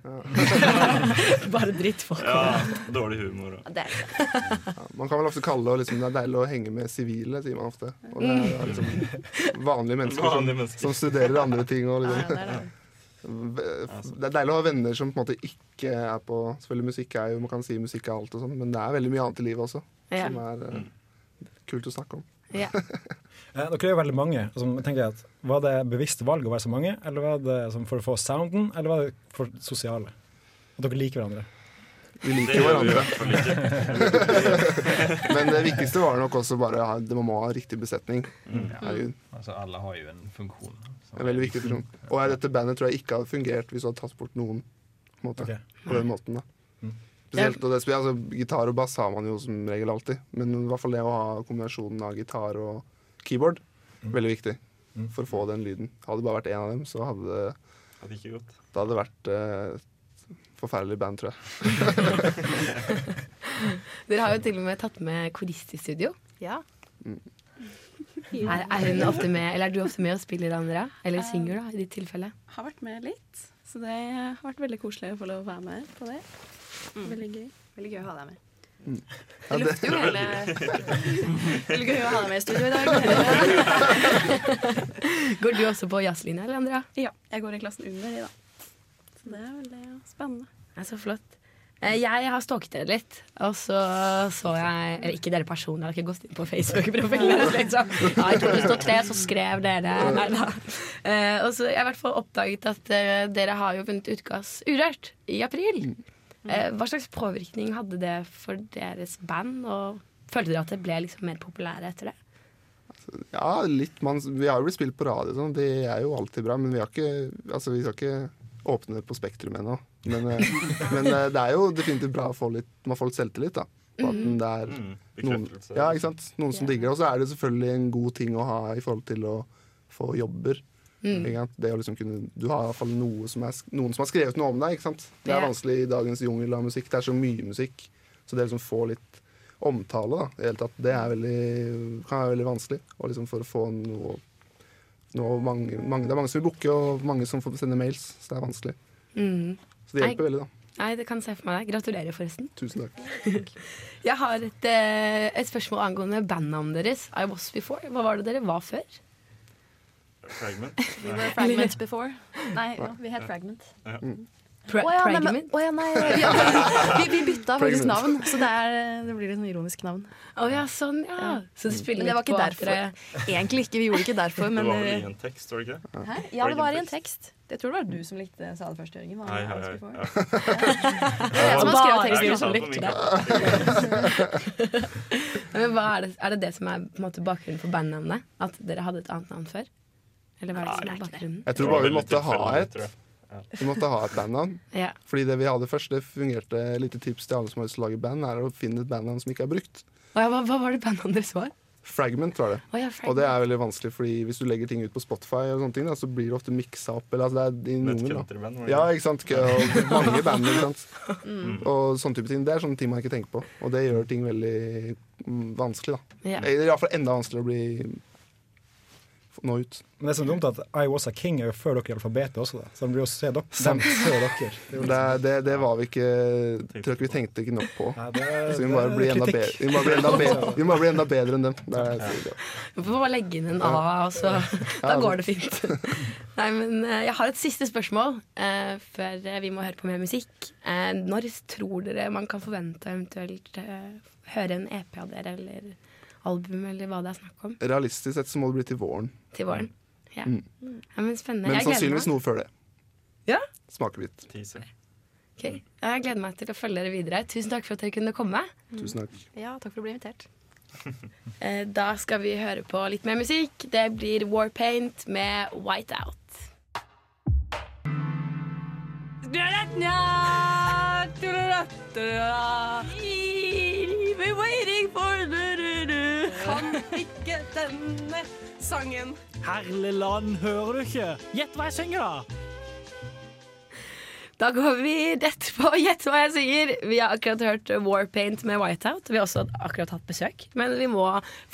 Bare drittfolk. Ja, dårlig humor. Og. Ja, man kan vel ofte kalle det liksom, det er deilig å henge med sivile, sier man ofte. Og det er, liksom, vanlige mennesker, Vanlige mennesker. Som, som studerer andre ting. Og, Ja, liksom. ja, det er det. Det er deilig å ha venner som på en måte ikke er på Selvfølgelig musikk er jo, man kan si musikk er alt og sånn, men det er veldig mye annet i livet også Ja. som er eh, kult å snakke om. Ja. Eh, Dere er jo veldig mange. og så tenker jeg at, var det bevisst valg å være så mange, eller var det sånn for å få sounden, eller var det for det sosiale? At dere liker hverandre? Vi Det liker gjør vi i hverandre. hvert men det viktigste var nok også bare å ha, det må ha riktig besetning. Er jo Altså, alle har jo en funksjon. så- en veldig viktig person. Og er dette bandet tror jeg ikke hadde fungert hvis du hadde tatt bort noen. På, en måte, Ok. på den måten da Spesielt, og det, spiller- altså, Gitar og bass har man jo som regel alltid, men i hvert fall det å ha kombinasjonen av gitar og keyboard veldig viktig for å få den lyden. Hadde det bare vært én av dem, så hadde det Hadde ikke gått. Da hadde det vært eh, et forferdelig band, tror jeg. Dere har jo til og med tatt med korist i studio. Ja. Er, er, hun ofte med, eller er du ofte med og spiller, Andrea? Eller Eh. synger, da, i ditt tilfelle? Har vært med litt, så det har vært veldig koselig å få lov å være med på det. Mm. Veldig gøy. Veldig gøy å ha deg med. Ja, det- lukter jo hele Veldig gøy å ha deg med i studio i dag. Går du også på jazzlinja, eller, Andrea? Ja, jeg går i klassen under de, da. Så det er veldig spennende. Det er så flott. Eh, Jeg har stalket dere litt, og så så jeg Eller ikke dere personlig, jeg har ikke gått inn på Facebook-profilen deres. Liksom. Ja, I 2003 så skrev dere Nei da. Eh, Og så har jeg i hvert fall oppdaget at eh, dere har jo vunnet Ukas Urørt i april. Eh, Hva slags påvirkning hadde det for deres band, og følte dere at det ble liksom mer populære etter det? Ja, litt man, Vi har jo blitt spilt på radio, og sånn. det er jo alltid bra, men vi, har ikke, altså, vi skal ikke åpne på Spektrum ennå. Men, eh, men eh, det er jo definitivt bra å få litt, man får litt selvtillit. da på at den- det er Mm, noen, bekreftelse. ja, ikke sant? noen som digger det. Og så er det selvfølgelig en god ting å ha i forhold til å få jobber. Mm. Ikke sant? Det å liksom kunne, du har i hvert fall noe som er, sk- noen som har skrevet noe om deg. Ikke sant? Det er Ja. vanskelig i dagens jungel av musikk. Det er så mye musikk. Så det å liksom få litt omtale, da, i det hele tatt, det er veldig, kan være veldig vanskelig. Og liksom for å få noe, noe mange, mange, Det er mange som vil booke, og mange som får sende mails. Så det er vanskelig. Mm. Så det hjelper veldig, da. Nei, det kan jeg se for meg. deg. Gratulerer, forresten. Tusen takk. Jeg har et, eh, et spørsmål angående bandnavnet deres. I Was Before. Hva var det dere var før? Fragment. We were fragments before. Nei, ja, vi het Fragment. Ja. Pra Å ja, nei, men- Pragment? å ja, nei. ja, Vi, vi bytta faktisk Fragment. navn, så det, er, det blir et sånn ironisk navn. Å ja, sånn, ja. Så det spiller Mm. Men det var litt ikke på at derfor. Egentlig ikke. Vi gjorde ikke derfor, Det men var vel i eh, en tekst, var det ikke det? Hæ? Ja, det var i en Fragment tekst. tekst. Jeg tror det var du som likte sa det først, Jørgen. var det Hei, hei, Alice hei. Before? Ja. Det er jeg som har skrevet Bare teksten. du som likte Nei, Men hva er, det, er det det som er på en måte, bakgrunnen for bandnavnet? At dere hadde et annet navn før? Eller hva er det som er bakgrunnen? Jeg tror bare vi måtte ha et Vi måtte ha et bandnavn. Ja. Fordi det vi hadde først, det fungerte lite tips til alle som har lyst til å lage band, er å finne et bandnavn som ikke er brukt. Å ja, hva, hva var det bandnavnet deres var? Fragment var det. Å ja, Og det er veldig vanskelig, fordi hvis du legger ting ut på Spotify, og sånne ting, da, så blir det ofte miksa opp. Eller, altså, det er i Med et noen, da. countryband, var det Ja, ikke? ikke sant? Kø- Og mange band. Ikke sant? Mm. Og sånne type ting. Det er sånne ting man ikke tenker på. Og det gjør ting veldig mm, vanskelig, da. Ja. Eller iallfall enda vanskeligere å bli nå ut. Men det som er dumt, er at I Was A King er jo før dere i alfabetet også, da. så de blir jo sett opp. Sant. De ser dere. Det er jo Det, liksom- det, det var vi ikke Tror ikke vi tenkte ikke nok på. er- Så vi må bare det er bli enda bedre, kritikk. vi må bare bli enda bedre, vi må bare bli enda bedre enn dem. Det er, Vi får bare legge inn en A, og så Da går det fint. Nei, men eh, jeg har et siste spørsmål eh, før eh, vi må høre på mer musikk. Eh, når tror dere man kan forvente eventuelt eh, høre en EP av dere, eller album, eller hva det er snakk om? realistisk sett så må det bli til våren. Til våren. Ja, Mm. ja men spennende. Men jeg gleder sannsynligvis meg. noe før det. Ja? Smakebit. Ok. Ja, Jeg gleder meg til å følge dere videre. Tusen takk for at dere kunne komme. Tusen takk. Ja, takk for å bli invitert. Eh, Da skal vi høre på litt mer musikk. Det blir Warpaint med Whiteout. We're waiting for Kan ikke denne sangen. Herligland, hører du ikke? Gjett hva jeg synger, da! Da går vi rett på Gjett hva jeg synger. Vi har akkurat hørt Warpaint med Whiteout. Vi har også akkurat hatt besøk. Men vi må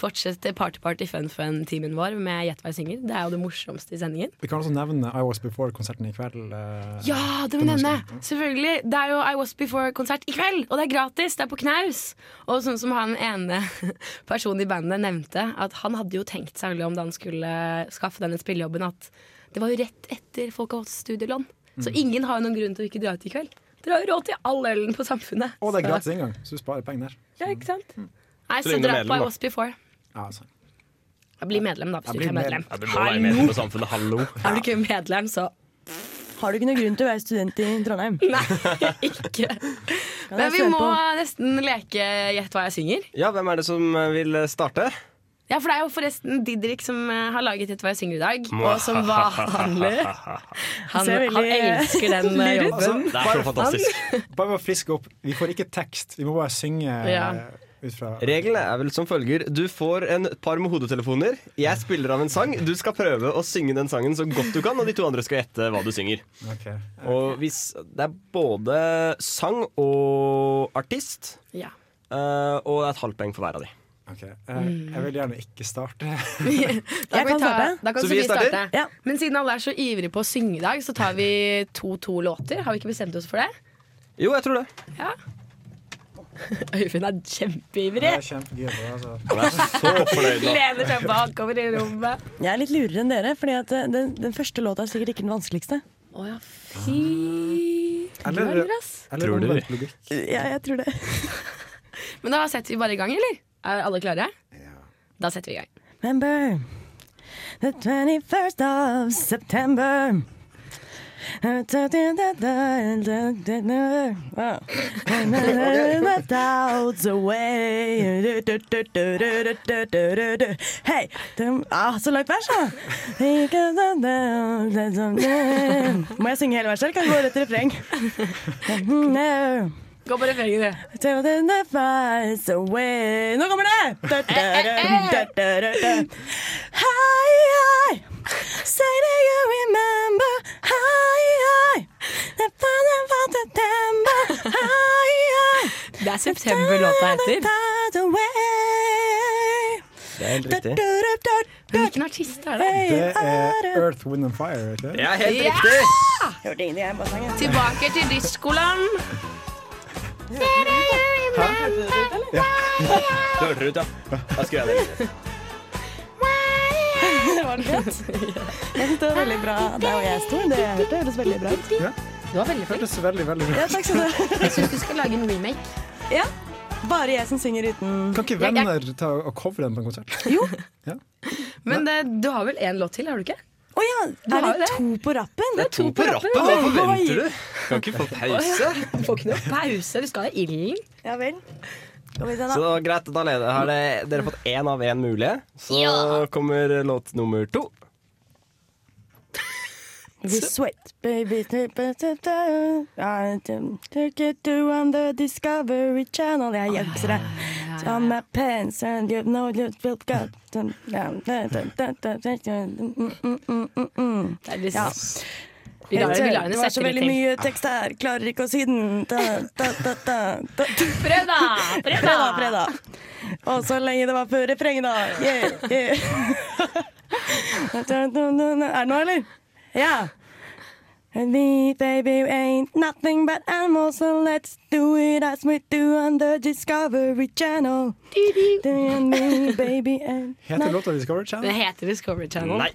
fortsette party-party fun-fun-timen vår med Gjett hva jeg synger. Det er jo det morsomste i sendingen. Vi kan også nevne I Was Before-konserten i kveld. eh, Ja, det på må nevne! norsk. Selvfølgelig. Det er jo I Was Before-konsert i kveld, og det er gratis! Det er på knaus! Og sånn som han ene personen i bandet nevnte, at han hadde jo tenkt særlig om da han skulle skaffe denne spillejobben, at Det var jo rett etter folk har fått studielån. Så Mm. ingen har jo noen grunn til å ikke dra ut i kveld. Dere har jo råd til all ølen på samfunnet. Og det er Så- gratis inngang, så du sparer penger der. Ja, ikke sant? Nei, Så så, lenge du er dra medlem, på I da. Was Before. Ja, sant. Bli medlem, da, hvis Ja, du bli ikke er medlem. Ja, du må være medlem på samfunnet, hallo. Er du ikke medlem, så Har du ikke noen grunn til å være student i Trondheim? Nei, ikke. Kan Men jeg vi svare må på? nesten leke Gjett hva jeg synger. Ja, hvem er det som eh, vil starte? Ja, for det er jo forresten Didrik som eh, har laget Gjett hva jeg synger i dag. Og som vanlig Han, Ser veldig, han elsker den eh, lyrisk. jobben. Det er så fantastisk. Bare for å friske opp, vi får ikke tekst, vi må bare synge Ja. eh, ut fra Reglene er vel som følger. Du får en par med hodetelefoner. Jeg spiller av en sang. Du skal prøve å synge den sangen så godt du kan, og de to andre skal gjette hva du synger. Ok. Og hvis det er både sang og artist, Ja. eh, og et halvt poeng for hver av de. Ok, eh, Jeg vil gjerne ikke starte. Da kan, vi ta, da kan Sofie starter? starte. Men siden alle er så ivrige på å synge i dag, så tar vi to-to låter. Har vi ikke bestemt oss for det? Jo, jeg tror det. Ja. Øyvind er kjempeivrig. Jeg er altså. kjempegira på det. Jeg er så fornøyd nå. Lener seg bakover i rommet. Jeg er litt lurere enn dere, fordi at eh, den, den første låta er sikkert ikke den vanskeligste. Å ja, fy Eller- eller Tror du omvendt logikk. Ja, jeg tror det. Men da setter vi bare i gang, eller? Er alle klare? Ja. Da setter vi i gang. Remember the 21st of September. Wow. the doubts away. Hei! dem- Ah, så langt vers, da! Må jeg synge hele verset, eller kan jeg gå rett til refreng? Gå på refrenget, du. Till the night flies away. Nå kommer det! Da-da-da-da-da-da-da. Hi, hi. Say that you remember. Hi, hi. The fun of all September. Hi, hi. Det er september-låta heter. Flies away. Det er helt riktig. Hvilken artist er det? Det Ah. er Earth, Wind and Fire, ikke Ja, Ja! Hørte ingenting, jeg bare sang. jeg. Tilbake til diskoland. Du hørte det ut, ja? Da skulle jeg det. Det var det godt. Jeg synes det var veldig bra der hvor jeg sto. Det hørte høres veldig bra ut. Du var veldig flink. Hørtes veldig, veldig bra Ja, takk skal du ha. Jeg syns du skal lage en remake. Ja. Bare jeg som synger uten Kan ikke venner ta og covre den på en konsert? Jo. Ja. Men eh, du har vel én låt til, har du ikke? Å ja! Du har jo Er det to på rappen? Det er to på rappen. Hva Oi. forventer du? Kan ikke få pause. Du får ikke noe pause. Du skal ha ilden. Ja vel. Så det var greit, da leder har det, dere fått én av én mulige. Så kommer låt nummer to. We sweat, baby. Take it to on the Discovery Channel. Jeg hjelper Ah, deg. On my pants and you know you felt good. Mm, mm, mm, mm, mm. Det er litt- sånn- Ja. Vi lar- vi lar henne Det var sette så litt veldig til. mye tekst her. Klarer ikke å si den. Da, da, da, da, da. Fredag! Fredag, fredag. Og så lenge det var før refrenget, da. Yeah, yeah. Er det nå, eller? Ja. And me, baby, we ain't nothing but animals, so let's do it as we do on the Discovery Channel. Du and me, baby, and Heter låta Discovery Den Channel? heter Discovery Channel. Nei.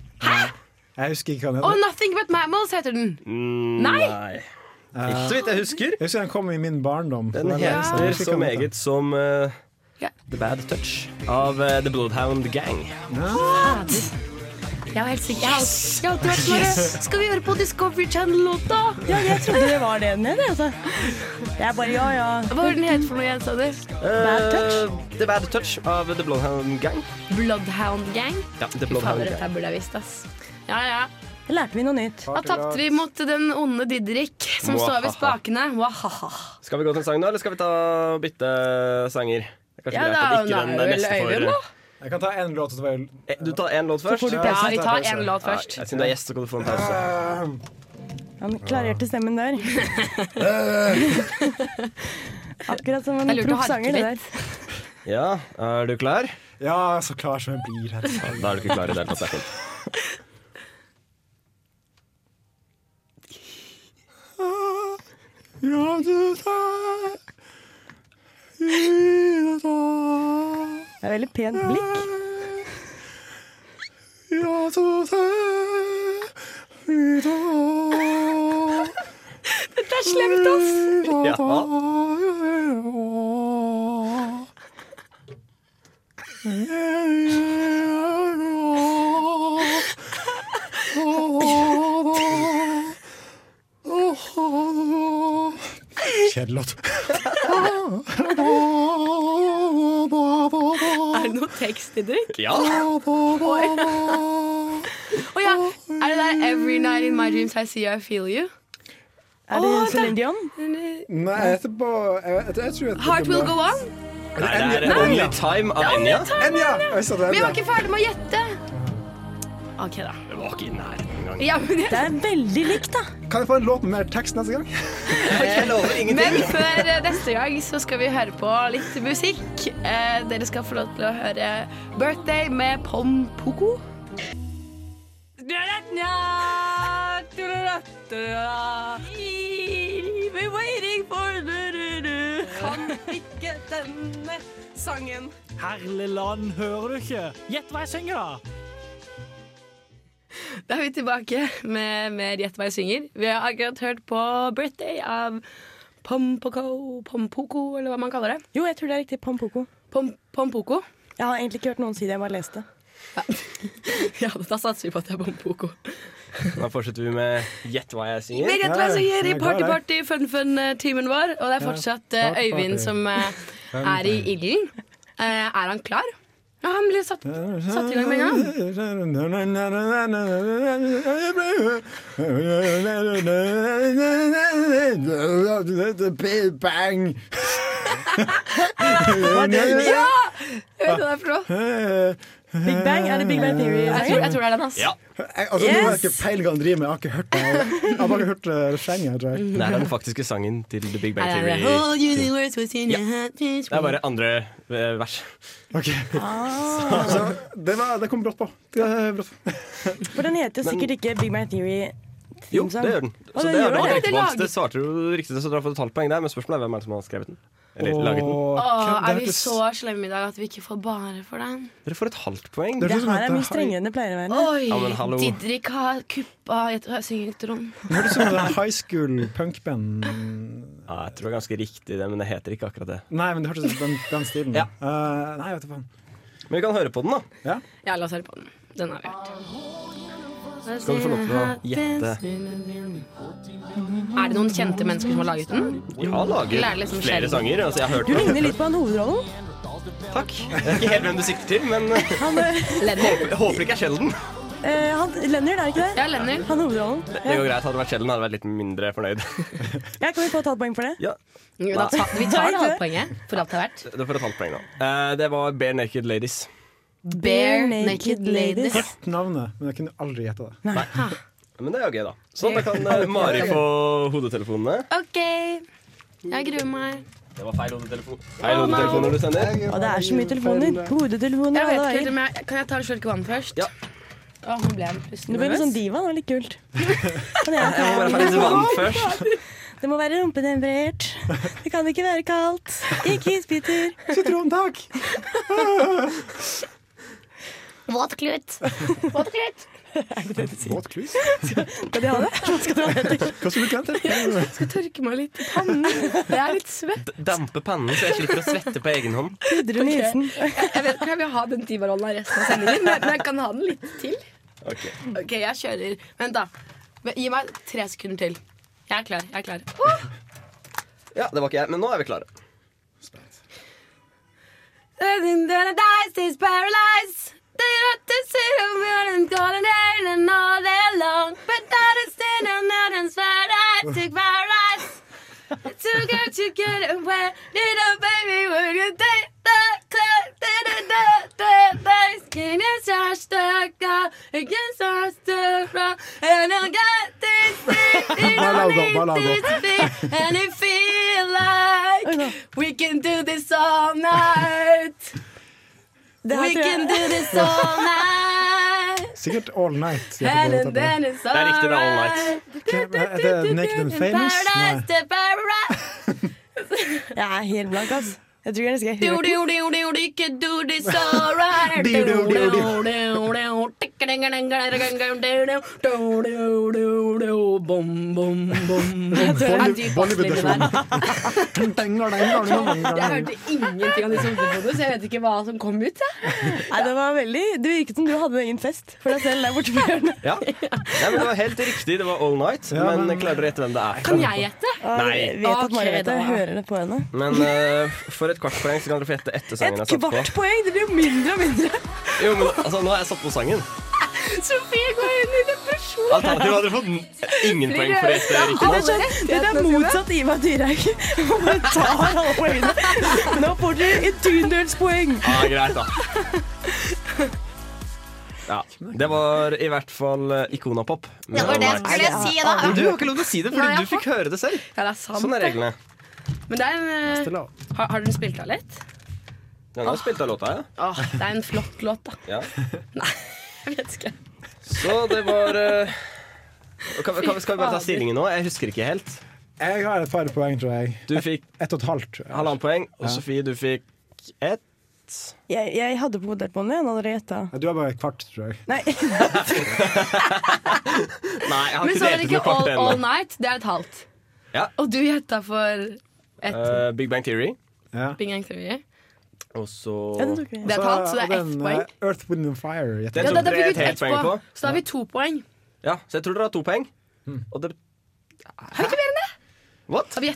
Jeg husker ikke hva den Og heter. Nothing But Mammals heter den. Nei. Eh, Ikke så vidt jeg husker. Jeg husker den kom i min barndom. Den Det var lenge siden. heter Jeg husker ikke så hva den heter. meget som eh, The Bad Touch av eh, The Bloodhound Gang. Fader. Jeg var helt sikker. Jeg har alltid- jeg har alltid vært sånn herre, Skal vi høre på Discovery Channel-låta? Ja, jeg trodde det var det den het, altså. Jeg bare ja, ja. Hva var den het for noe igjen, sa du? Bad Touch? Eh, The Bad Touch av The Bloodhound Gang. Bloodhound Gang? Ja, The Fy fader, Bloodhound dette her Gang. burde jeg visst, ass. Ja, ja. Lærte vi noe nytt? Da tapte vi mot den onde Didrik, som står ved spakene. Wahaha. Skal vi gå til en sang nå, eller skal vi ta bytte sanger? Det er kanskje Ja, greit da, at ikke nå er den det vel neste får- Øyvind, da. Jeg kan ta én låt. og så tar jeg- Eh, Du tar én låt Så først? får du pause. Ja, vi tar pause. én låt først. Ja, siden du er gjest, så kan du få en pause. Han klarerte stemmen der. Akkurat som en Jeg lurte å harke proff sanger, det der. Ja, er du klar? Ja, så klar som jeg blir. helt sant. Da er du ikke klar i det hele tatt. det er fint. Ja, du tar i det da. Det er veldig pent blikk. Ja, du tar slemt, ass! Kjedelig låt. Er det noe tekst i drikk? Ja. Oi. Å ja. Er det der 'Every night in my dreams I see you, I feel you'? Er det Celine Dion? Nei, etterpå jeg, jeg, jeg tror jeg Heart will go on. Nei, det er Nei. Only Time av Enja. Oi, så det er Vi var det. ikke ferdig med å gjette. OK, da. Det var ikke i nærheten engang. Ja, men det er veldig likt, da. Kan jeg få en låt med mer tekst neste gang? Jeg lover Men ingenting. før eh, neste gang så skal vi høre på litt musikk. Eh, dere skal få lov til å høre 'Birthday' med Pom Poko. We're waiting for du-du-du. Kan ikke denne sangen. Herligland, hører du ikke? Gjett hva jeg synger, da! Da er vi tilbake med mer Gjett hva jeg synger. Vi har akkurat hørt på 'Birthday' av Pompoko, Pompoko, eller hva man kaller det. Jo, jeg tror det er riktig. Pompoko. Pompoko? Jeg har egentlig ikke hørt noen si det, jeg bare leste. Ja, da satser vi på at det er Pompoko. Da fortsetter vi med Gjett hva jeg synger. Med Gjett hva jeg synger i party-party, fun-fun-timen vår. Og det er Ja, fortsatt eh, party, Øyvind party. som eh, er i ilden. Eh, Er han klar? Ja, han blir satt, satt i gang med en gang. Big bang! Ja! Jeg vet hva det er for noe. Big Bang? Er det Big Bang Theory? Jeg tror, jeg tror det er den, ass. Ja. Jeg, altså, Nå har jeg ikke peiling hva han driver med. Jeg har ikke hørt det. Jeg har bare hørt eh, refrenget. jeg tror jeg. Det er den faktiske sangen til The Big Bang Nei, Theory. nei, nei. All universe was in Ja. a hot Det er bare andre eh, vers. Ah. Så det, var, det kom brått på. Det er brått. For den heter jo Men- sikkert ikke Big Bang Theory. Jo, det gjør den. Å, Så den det, gjør er du det. rett på. Laget- det svarte du riktig, så dere har fått et halvt poeng der. Men spørsmålet er hvem er det som har skrevet den? Eller laget den? Åh, er vi så slemme i dag at vi ikke får bare for den? Dere får et halvt poeng. Det her er mye strengere enn det pleier å være. Oi, Ja, men hallo. Didrik har kuppa Jeg jeg synger et rom. Det høres ut som en high school punkband. Ja, jeg tror det er ganske riktig, det, men det heter ikke akkurat det. Nei, men det hørtes ut som den, den stilen. Ja. Eh, nei, vet du faen. Men vi kan høre på den, da. Ja, la oss høre på den. Den har vi hørt. Skal du få lov til å gjette? Er det noen kjente mennesker som har laget den? Jeg har Lærer laget liksom flere sjelden. sanger. Altså, jeg har hørt Du ligner litt på han hovedrollen. Takk. Jeg vet ikke helt hvem du sikter til, men Han, eh, håper, håper ikke er Sheldon. Eh, han, Leonard, er det ikke det? Ja, Leonard. Han hovedrollen. Det går greit. Hadde det vært Sheldon, hadde jeg vært litt mindre fornøyd. Ja, kan vi få et halvt poeng for det? Ja. Jo, da ta, vi tar halvpoenget for alt det har vært. Du får et halvt poeng nå. Eh, Det var Bare Naked Ladies. Bare Naked Ladies. Hørt navnet, men jeg kunne aldri gjette det. Men det er jo gøy, da. Sånn, da kan eh, Mari få hodetelefonene. OK. Jeg gruer meg. Det var feil hodetelefon. Feil hodetelefoner du sender. Og det er så mye telefoner. Hodetelefoner Jeg alle vet ikke helt veier. om jeg, Kan jeg ta en slurk vann først? Ja. Å, nå ble jeg plutselig Du ble litt sånn nervøs. diva. Det var litt kult. Jeg må bare ha litt vann først. Det må være rumpetemperert. Det kan ikke være kaldt. Ikke isbiter. Sitrontak. Våtklut. Våtklut. Våt klus? Skal de ha det? Skal de ha det? Hva skulle du ikke hente? Jeg skal tørke meg litt i pannen. Jeg er litt svett. D- Dampe pannen, så jeg slipper å svette på egen hånd. Pudre nesen. Jeg vet ikke om jeg vil ha den divarollen resten av sendingen, men men jeg kan ha den litt til. Ok. OK, jeg kjører. Vent, da. Men Gi meg tre sekunder til. Jeg er klar. jeg er klar Åh! Ja, det var ikke jeg, men nå er vi klare. And then I dies is paralyzed. They got to sit on me and call it in and all day long. But that is then I'm not as bad as took paradise. It's too good to get away. Little baby, would you take the clock? Da da da da da. Skin is so stuck out. It gets so stuck out. And I got this thing. It Bare la don't det gå, bare la need det gå. this thing. And it feel like we can do this all night. her We tror jeg- can do this all night. Sikkert All Night. And Jeg vet then ikke it's hva all det right. heter. Er det Naked and Famous? Nei. Paradise to paradise. Jeg er helt blank, ass. Jeg tror jeg skal Do, høre do, do, do, do, can do this all right. Do, do, do, do. Do, do, do, do. Tikka-dinga-dinga-dinga-dinga-dinga. Do, do, do, do. bom, bom, bom, Jeg tror det er dyp basslinje der. Jeg hørte ingenting av de som bodde, så jeg vet ikke hva som kom ut. Nei, det var veldig Det virket som du hadde egen fest for deg selv der borte på hjørnet. Ja. Nei, men det var helt riktig. Det var All Night. men jeg klarer å gjette hvem det er. gjette? Nei. Jeg vet at Maja Ok, vet det. da. Jeg hører det på henne. Men eh, for et kvart poeng så kan dere få gjette etter sangen Et jeg satte på. kvart poeng! Det blir jo mindre og mindre. Jo, men altså, nå har jeg satt på sangen. Sofie går inn i depresjon. Alternativet hadde fått n- ingen poeng for å gjette riktig. Det er sånn, det er motsatt Ivar Dyrhaug. Hun tar alle poengene. Nå får du et tundelspoeng. Ja, greit, da. Ja, Det var i hvert fall eh, Ikonapop. med Det var All det jeg Night. skulle si, da. Men du har ikke lov til å si det, Nei, for jeg du fikk høre det selv. Ja, det er sant. Sånn er reglene. Men det er en, eh, har, har dere spilt av litt? Den Ah. har spilt av låta, ja. Åh, det er en flott låt, da. ja. Jeg vet ikke. Så det var eh, kan, vi- kan, vi- Skal vi bare ta stillingen nå? Jeg husker ikke helt. Jeg har et par poeng, tror jeg. Du fikk Ett og et halvt. tror jeg. halvannet poeng, og Ja. Sofie, du fikk ett. Jeg, jeg hadde på modeltbåndet, jeg hadde gjetta. Ja, Du har bare et kvart, tror jeg. Nei. Nei, jeg har Men så var ikke delt det ut ikke noe all, kort all ennå. Night, det er et halvt. Ja. Og du gjetta for ett Eh, Big Bang Theory. Bing Bang Theory. Og så Det Altså, er et halvt, så det er ett poeng. Altså, eh, Earth, Wind and Fire. gjetter Den jeg. tok dere et helt poeng på. Så da har vi to poeng. Ja, så jeg tror dere har to poeng. Og vi det Har Det gjetta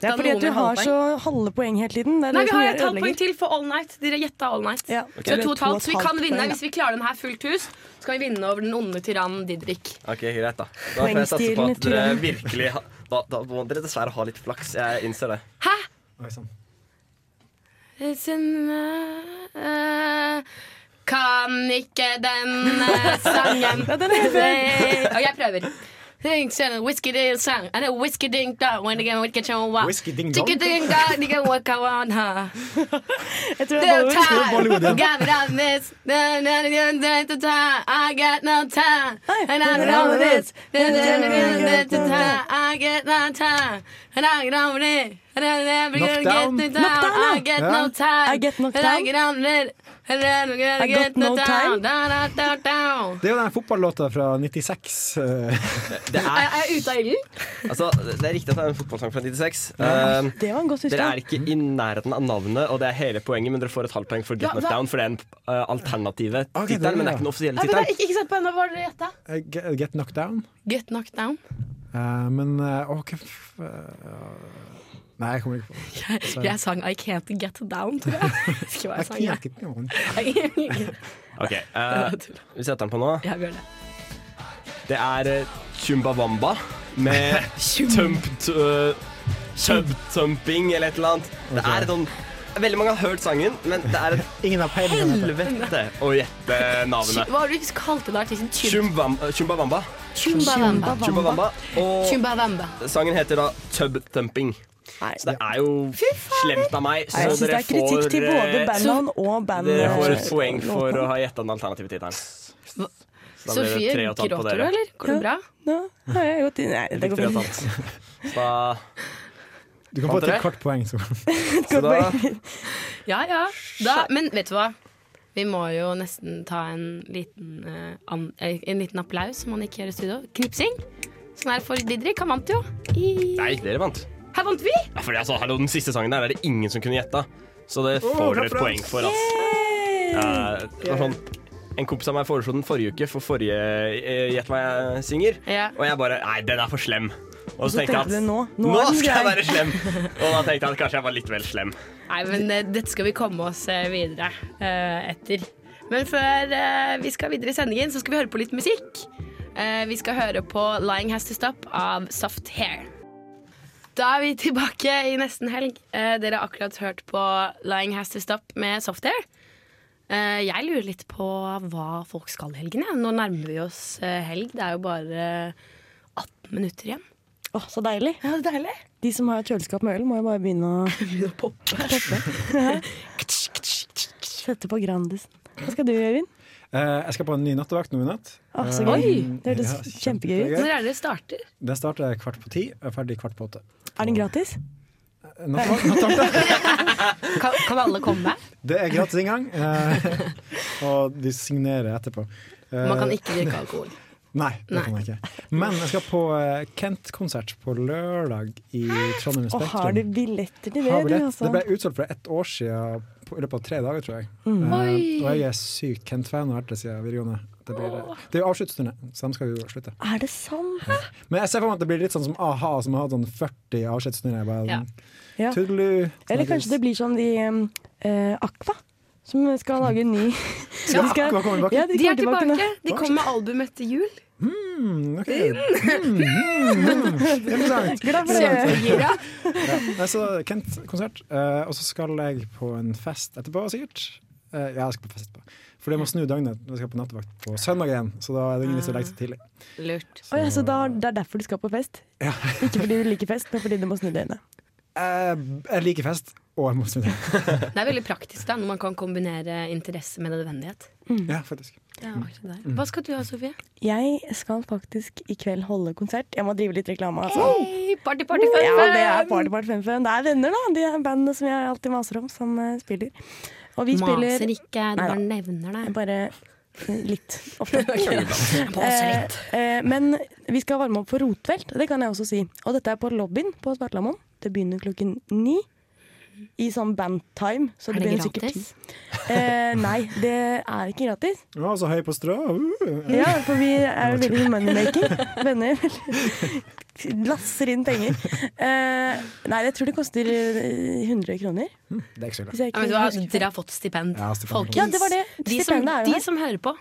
er fordi noe at du med har halvt så poeng? halve poeng hele tiden. Det er det Nei, vi som har gjør et halvt ødelegger. poeng til for All Night. Dere gjetta All Night. Ja. Så det er to og et halvt, så vi kan vinne. poeng, ja. Hvis vi klarer den her fullt hus, så kan vi vinne over den onde tyrannen Didrik. Ok, greit, da. Da får jeg satse på Poengstilen i at dere turen. virkelig ha, da, da må dere dessverre ha litt flaks. Jeg innser det. Hæ? sånn- Oi, sann. It's an, uh, uh, Kan ikke denne sangen Ja, den er helt fin. Og jeg prøver. Think so, Whiskey ding song And a whiskey ding dong When again we can show up Whiskey ding dong? Chicken ding dong You can walk around huh? tror det er No Bollywood. Det er time Bollywood, ja. Got it on this Na, na, na, na, na, na, na, I got no time And I get over this Na, na, na, na, na, na, na, I get no time And I get over it And I never gonna Knockdown. get no Knockdown, ja. time I get Ja. no time I get no And I time. get on it And I I got gonna get no no time time. Da, da, da, da. Det er jo den fotballåta fra 96. eh. Det Er er jeg ute av ilden? Altså, det er riktig at det er en fotballsang fra 96. Ja, Um, det var en god system. dere er ikke i nærheten av navnet, og det er hele poenget, men dere får et halvt poeng for Get Hva- Knocked hva- Down, for det er den uh, alternative det er tittelen, men det det, er ikke den offisielle Nei, men da, tittelen. ikke, ikke sett på henne, hva var det dere gjetta? Eh, Get, get knocked down. Get knocked down. Eh, men eh, åh, hva f- eh, Nei, jeg kommer ikke på det. Sorry. Jeg sang I can't get down, tror jeg. Jeg husker ikke hva jeg sang. I jeg. can't get down. Ok, uh, vi setter den på nå. Ja, vi gjør det. Det er uh, Chumbawamba med Tump... Uh, Tub-tumping eller et eller annet. Det Ok. er sånn Veldig mange har hørt sangen, men det er et helvete å gjette navnet. Hva var det du kalte det artisten? Chum- Chumbam- Chumbawamba. Chumbawamba. Chumbawamba. eh, Og Chumbawamba. sangen heter da Tub Thumping. Så det er jo slemt av meg. Nei, Så jeg syns det dere er kritikk til både eh, bandnavn og band... Dere får et poeng for å ha gjetta den alternative tittelen. Så da blir det Sofie, tre og et halvt på gråter dere. du, eller? Går det bra? Nå har jeg gått inn Nei, det går Tre og et bra. halvt. Så da Du kan få Fant et dere? kvart poeng. Så. Så da Ja, ja. Da, men vet du hva? Vi må jo nesten ta en liten, eh, an, eh, en liten applaus, som man ikke gjør i studio. Knipsing. Sånn her for Didrik. Han vant jo. I- Nei, dere vant. Her vant vi! Ja, fordi altså, hallo, Den siste sangen der er det ingen som kunne gjetta, så det Åh, får dere et klapp for poeng for. ass. Eh, det var sånn, en kompis av meg foreslo den forrige uke for forrige eh, Gjett hva jeg synger. Og jeg bare Nei, den er for slem. Og Og så så tenkte jeg tenkte at du, nå- nå nå er den skal jeg grei. være slem! Og da tenkte jeg at kanskje jeg var litt vel slem. Nei, men eh, dette skal vi komme oss eh, videre eh, etter. Men før eh, vi skal videre i sendingen, så skal vi høre på litt musikk. Eh, vi skal høre på 'Lying Has To Stop' av Soft Hair. Da er vi tilbake i nesten helg. Eh, dere har akkurat hørt på 'Lying Has To Stop' med Soft Hair. Eh, jeg lurer litt på hva folk skal i helgen. jeg. Nå nærmer vi oss eh, helg. Det er jo bare 18 minutter igjen. Åh, så deilig. Ja, det er deilig. De som har et kjøleskap med øl, må jo bare begynne å Begynne å poppe. Sette på Grandisen. Hva skal du, Øyvind? Eh, jeg skal på en ny nattevakt nå i natt. Ah, så Eh, gøy. Oi, det hørtes ja, kjempegøy ut. Når er det det starter? Den starter kvart på ti og er ferdig kvart på åtte. Er den gratis? Nattevakt, nattevakt. Kan, kan alle komme? Det er gratis inngang, eh, og de signerer etterpå. Eh, Man kan ikke drikke alkohol. Nei, det kan jeg ikke. Men jeg skal på eh, Kent-konsert på lørdag i Trondheim Og Spektrum. har du billetter til det, Har du, billett. altså? Det ble utsolgt for ett år siden, på, i løpet av tre dager, tror jeg. Mm. Eh, Oi. og jeg er sykt Kent-fan og har vært det siden videregående. Det, blir, Åh. det er jo avsluttsturné, så de skal jo slutte. Er det sant? Men jeg ser for meg at det blir litt sånn som a-ha, som har hatt sånn 40 avskjedsturneer. Bare Ja. ja. Tudelu. Eller kanskje det blir som de um, eh, Aqua, som skal lage en ny Skal Aqua komme tilbake? Ja, de, De er kommer tilbake. nå. De kom med album etter jul. Mm, ok. Mm, mm, Interessant. Glad for det. Interessant. Ja. Nei, Så Kent-konsert. eh, og så skal jeg på en fest etterpå, sikkert. Eh, ja, jeg skal på fest etterpå. For det må snu døgnet. Jeg skal på nattevakt på søndag igjen, så da er det ingen vits i å legge seg tidlig. Lurt. Å ja, så da, det er derfor du skal på fest? Ikke fordi du liker fest, men fordi du må snu døgnet. Eh, jeg liker fest, og jeg må snu døgnet. Det er veldig praktisk da, når man kan kombinere interesse med nødvendighet. Ja, faktisk. Mm. Hva skal du ha, Sofie? Jeg skal faktisk i kveld holde konsert. Jeg må drive litt reklame. Altså. Hey, party, party, fun, ja, fun! det er party, party, fun, fun. Det er venner, da. De er bandene som jeg alltid maser om, som eh, spiller. Og vi spiller Maser ikke, du Nei da. bare nevner det. Bare litt. Ofte. Maser litt. Eh, eh, men vi skal varme opp for rotvelt, det kan jeg også si. Og dette er på lobbyen på Svartlamoen. Det begynner klokken ni. I sånn bandtime. Så Er det det begynner sikkert gratis? ti. Eh, nei, det er ikke gratis. Ja, så høy på strå. Uh. Ja, for vi er jo veldig moneymaking. Venner veldig- lasser inn penger. Eh, nei, jeg tror det koster eh, 100 kroner. Det er ikke så Hvis Ja, jeg ikke men du har, altså, husker feil. dere har fått stipend. Ja, stipend. Folkens, Ja, det var det. De som, Stipendet er jo her. de som hører på.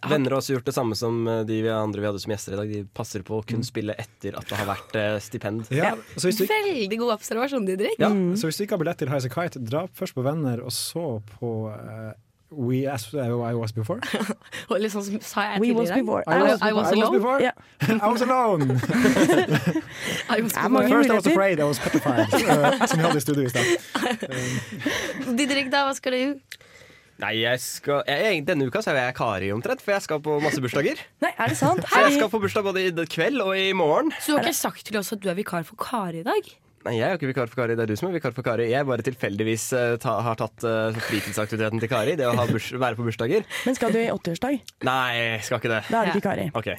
Venner har også gjort det samme som eh, de vi andre vi hadde som gjester i dag. De passer på å kun Mm. spille etter at det har vært eh, stipend. Ja, så hvis du ikke Veldig god observasjon, Didrik. Ja, Så hvis du ikke har billett til Highas a Kite, dra først på Venner, og så på eh, We As eh, I Was Before. Og litt sånn som sa jeg We was tidligere. before. I was, I was alone. before. I was alone. I was Det er mange First I was muligheter. afraid, I was petrified. eh, som vi hadde i studio i stad. Didrik, da, hva skal du gjøre? Nei, jeg skal jeg, Denne uka så er jeg Kari omtrent, for jeg skal på masse bursdager. Nei, er det sant? Så jeg skal på bursdag både i kveld og i morgen. Så du har ikke sagt til oss at du er vikar for Kari i dag? Nei, jeg er jo ikke vikar for Kari. Det er du som er vikar for Kari. Jeg bare tilfeldigvis eh, ta, har tatt eh, fritidsaktiviteten til Kari. Det å ha burs, være på bursdager. Men skal du i 80-årsdag? Nei, jeg skal ikke det. Da er det ikke Kari. Ok.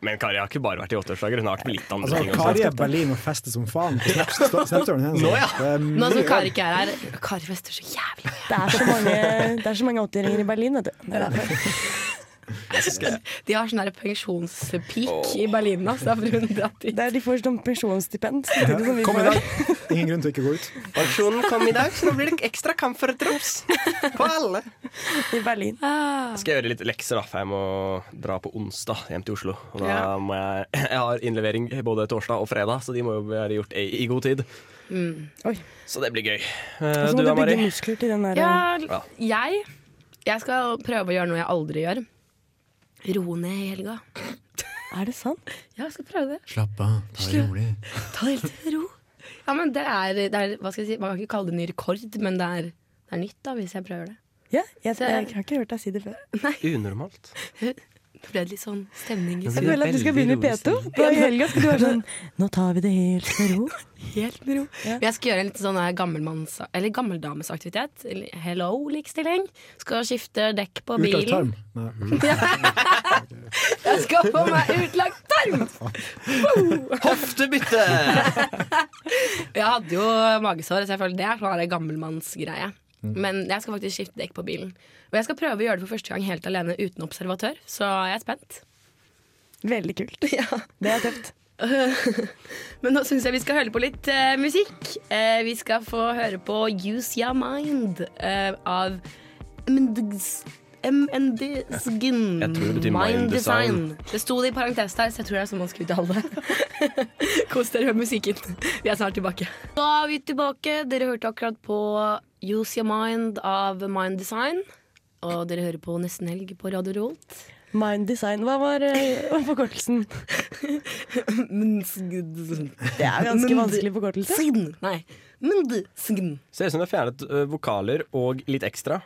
Men Kari har ikke bare vært i åtteårsdager. Hun har vært med litt andre Altså, ting. også. Kari er Berlin og fester som faen. på Snap- Snap- Snapstoren hennes. Nå, ja. Det er sånn Nå som mye- Kari ikke er her. Kari fester så jævlig. Det er så mange, det er så mange 80-åringer i Berlin, vet du. Det er derfor. De har sånn der pensjonspeak i Berlin nå, så da får hun dratt dit. Det er de får sånn pensjonsstipend. samtidig som vi Kom i får. dag. Ingen grunn til å ikke gå ut. Aksjonen kom i dag, så nå blir det ekstra kamp for drops på alle. I Berlin. Jeg skal gjøre litt lekser, da, for jeg må dra på onsdag hjem til Oslo. Og da Ja. må jeg, jeg har innlevering både torsdag og fredag, så de må jo være gjort i, i god tid. Mm. Så det blir gøy. Og så Eh, Du Altså, må du da, bygge Mari? muskler til den der Ja, Ja. jeg, jeg skal prøve å gjøre noe jeg aldri gjør. Roe ned i helga. eh, Er det sant? Ja, jeg skal prøve det. Slapp av, ta det rolig. Ta det helt med ro. Ja, men det er, det er hva skal jeg si, Man kan ikke kalle det en ny rekord, men det er, det er nytt da, hvis jeg prøver det. Ja, jeg, jeg har ikke hørt deg si det før. Unormalt. Det ble litt sånn stemning i Jeg føler at du skal begynne i P2. Da I helga skal du være sånn Nå tar vi det helt med ro. Helt med ro. Men Jeg skal gjøre en litt sånn her gammelmanns, eller gammeldamesaktivitet. eller Hello, likestilling. Skal skifte dekk på Utlagt bilen. tarm. Nei. Jeg skal få meg utlagt tarm! Hoftebytte! Jeg hadde jo magesår, så jeg føler det er sånn her gammelmannsgreie. Men jeg skal faktisk skifte dekk på bilen. Og jeg skal prøve å gjøre det for første gang helt alene uten observatør, så jeg er spent. Veldig kult. Det er tøft. Men nå syns jeg vi skal høre på litt eh, musikk. Eh, vi skal få høre på Use Your Mind eh, av MNDs MNDsgen. Jeg tror det betyr Mind Design. Det sto det i parentes der, så jeg tror det er sånn man skal uttale det. Kos dere med musikken. Vi er snart tilbake. Da er vi tilbake. Dere hørte akkurat på Use Your Mind av Mind Design. Og dere hører på Nesten Helg på Radio Rolt. Mind design. Hva var eh, forkortelsen? Det er ganske vanskelig forkortelse. Nei. Mundsign. Ser ut som det er fjernet ø, vokaler og litt ekstra.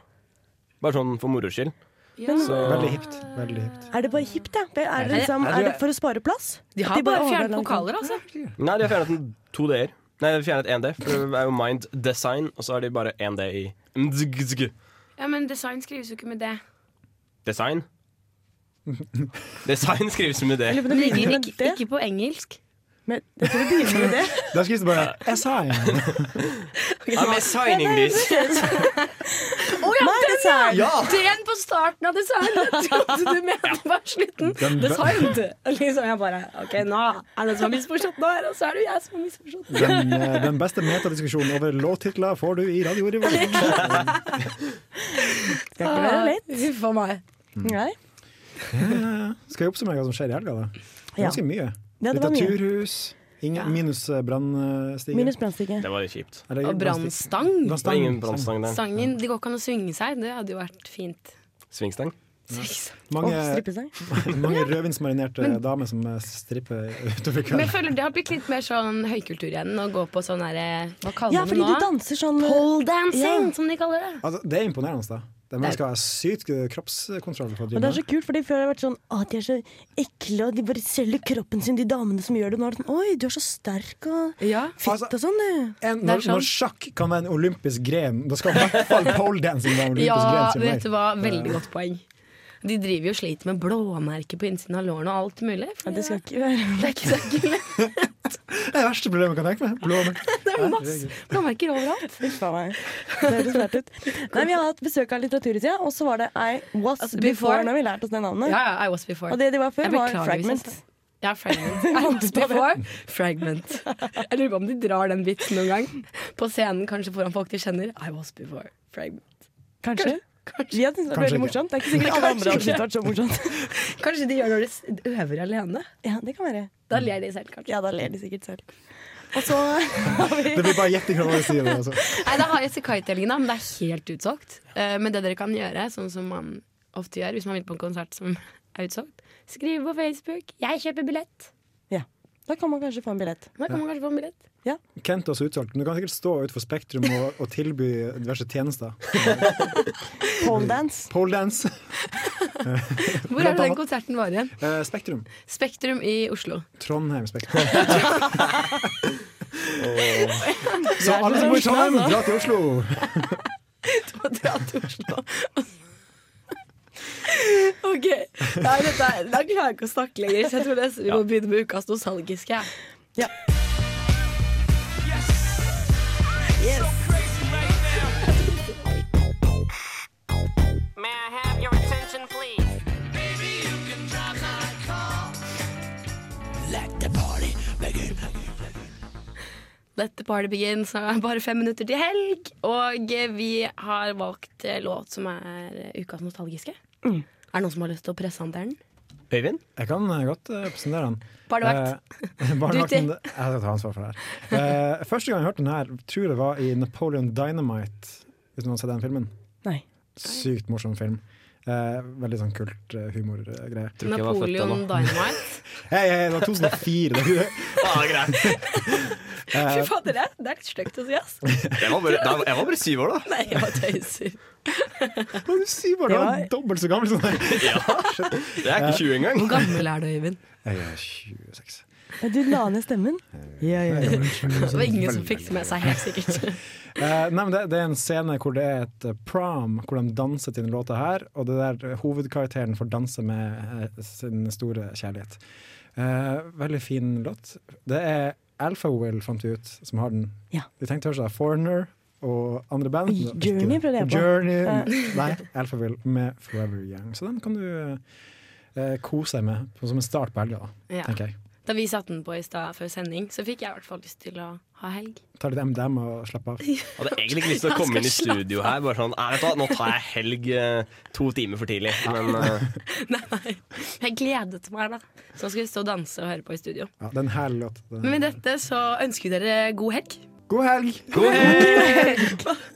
Bare sånn for moro skyld. Ja. Veldig hipt. Veldig hipt. Er det bare hipt, ja? Det Er, Er det det- liksom, er det- er det for å spare plass? De har At bare overlager fjernet langt. vokaler, altså. Nei, de har fjernet en- to d-er. Nei, de har fjernet én d, for det er jo Mind Design, og så har de bare én d i MDZG. Ja, men design skrives jo ikke med det. Design? Design skrives med det. Ligger ikke, ikke på engelsk. Men jeg tror det begynner med det. Der skrives det bare SI. Ja, med signing list. Å ja, Nei, den, ja! Ja! Den på starten av design! Jeg trodde du mente bare slutten. Den- Design! Liksom jeg bare OK, nå er det som har misforstått nå her, og så er det jo jeg som har misforstått. Den, eh, den beste metadiskusjonen over låttitler får du i Radio Revolt. Skal ikke være lett. Ah, Huff a meg. Nei. Skal jeg oppsummere hva som skjer i helga, da? Det er Ja. Ganske mye. Ja, det var mye. Litteraturhus. Ingen, minus eh, brannstige. Minus brannstige. Det var litt kjipt. Eller Og brannstang. Det var ingen brannstang der. Sangen Det går ikke an å svinge seg. Det hadde jo vært fint. Svingstang? Mange, Og strippesang. mange rødvinsmarinerte damer som eh, stripper utover Men kvelden. jeg føler det har blitt litt mer sånn høykultur igjen å gå på sånn herre Hva kaller Ja, man det fordi nå? du danser sånn eh, Pole dancing, Ja. som de kaller det. Altså, det er imponerende, da. Det man skal ha sykt kroppskontroll for å Og drive det er så med. kult, fordi Før har det vært sånn at de er så ekle og de bare selger kroppen sin, de damene som gjør det. Nå er det sånn Oi, du er så sterk og fitt og sånn, du. Altså, En, når, når sjakk kan være en olympisk gren, da skal i hvert fall poledancing være en olympisk Ja, gren. sier meg. vet du hva. Det- Veldig godt poeng. De driver jo og sliter med blåmerker på innsiden av lårene og alt mulig. det skal ikke være Det er ikke så ikke lett. Det er det verste problemet jeg kan tenke meg. Blåmerker. Det er masse blåmerker overalt. Uff a meg. Det høres fælt ut. Nei, Vi har hatt besøk av Litteraturhuset, ja, og så var det I Was Altså, Before. before. Nå har vi lært oss det navnet. Ja, ja, I was before. Og det de var før, Jeg var beklager hvis Fragment. jeg sa- Ja, Fragment. I was before. Fragment. Jeg lurer på om de drar den vitsen noen gang. På scenen, kanskje foran folk de kjenner. I was before. Fragment. Kanskje. Vi har syntes det var Kanskje veldig ikke. morsomt. Det er ikke sikkert alle Kanskje andre hadde ikke. syntes det vært så morsomt. Kanskje de gjør når de s- øver alene. Ja, det kan være. Da ler de selv, kanskje. Ja, da ler de sikkert selv. Og så har vi Det blir bare gjetting fra vår side. Altså. Nei, da har jeg Sekai-telingen, da, men det er helt utsolgt. Eh, Men det dere kan gjøre, sånn som man ofte gjør hvis man vil på en konsert som er utsolgt, skriv på Facebook 'Jeg kjøper billett'. Ja. Da kan man kanskje få en billett. Da kan man kanskje få en billett. Kent er også utsolgt, men du kan sikkert stå utenfor Spektrum og, og tilby diverse tjenester. Poledance. Poledance. Hvor er det den konserten var igjen? Eh, Spektrum. Spektrum i Oslo. Trondheim Spektrum. Så alle som bor i Trondheim, dra til Oslo! Ok, Nei, dette, er- Da klarer jeg ikke å snakke lenger, så jeg tror nesten vi må begynne med ukas nostalgiske. Ja. May I have your attention, please? Baby, you can drive my car. Let the party begin. Let the party begin, så er det bare fem minutter til helg. Og eh, vi har valgt eh, låt som er eh, ukas nostalgiske. Er det noen som har lyst til å presentere den? Øyvind? Jeg kan eh, godt eh, presentere han. Barnevakt. Eh, barnevakten, Duty. jeg skal ta ansvar for det her. Eh, første gang jeg hørte den her, tror jeg det var i Napoleon Dynamite, hvis noen har sett den filmen. Nei. Sykt morsom film. Eh, veldig sånn kult eh, humorgreie. ikke jeg var født Napoleon ennå. Dynamite? hei, hei, det var 2004. Det var Ah, greit. Eh, Fy fader, det, er- det er litt stygt å si, ass. Jeg var bare, da- jeg var bare syv år, da. Nei, jeg bare tøyser. Hva du sier bare, du er dobbelt så gammel som deg! Jeg er ikke 20 engang. Hvor gammel er du, Øyvind? Jeg er 26. Ja, Du la ned stemmen. Ja, ja, ja. Det var ingen som fikk med seg, helt sikkert. Eh, nei, men det, det er en scene hvor det er et eh, prom, hvor de danser til denne låta her. Og det der eh, hovedkarakteren får danse med eh, sin store kjærlighet. Eh, veldig fin låt. Det er Alpha Will, fant vi ut, som har den. Vi tenkte først da Foreigner og andre band. Oi, Journey prøvde jeg på. Journey, Ja. Nei, Alpha Will med Forever Young. Så den kan du eh, kose deg med som en start på helga, da, Ja. tenker jeg. Da vi satte den på i stad før sending, så fikk jeg i hvert fall lyst til å ha helg. Ta litt MDM og slappe av. Jeg hadde egentlig ikke lyst til å Han komme skal inn i slappe studio her. Bare sånn, «Nei, vet du hva, Nå tar jeg helg eh, to timer for tidlig. Men eh, Jeg gledet meg, da. Så skulle vi stå og danse og høre på i studio. Ja, det er en herlig låt. Det er- Men med dette så ønsker vi dere god helg. God helg! God helg!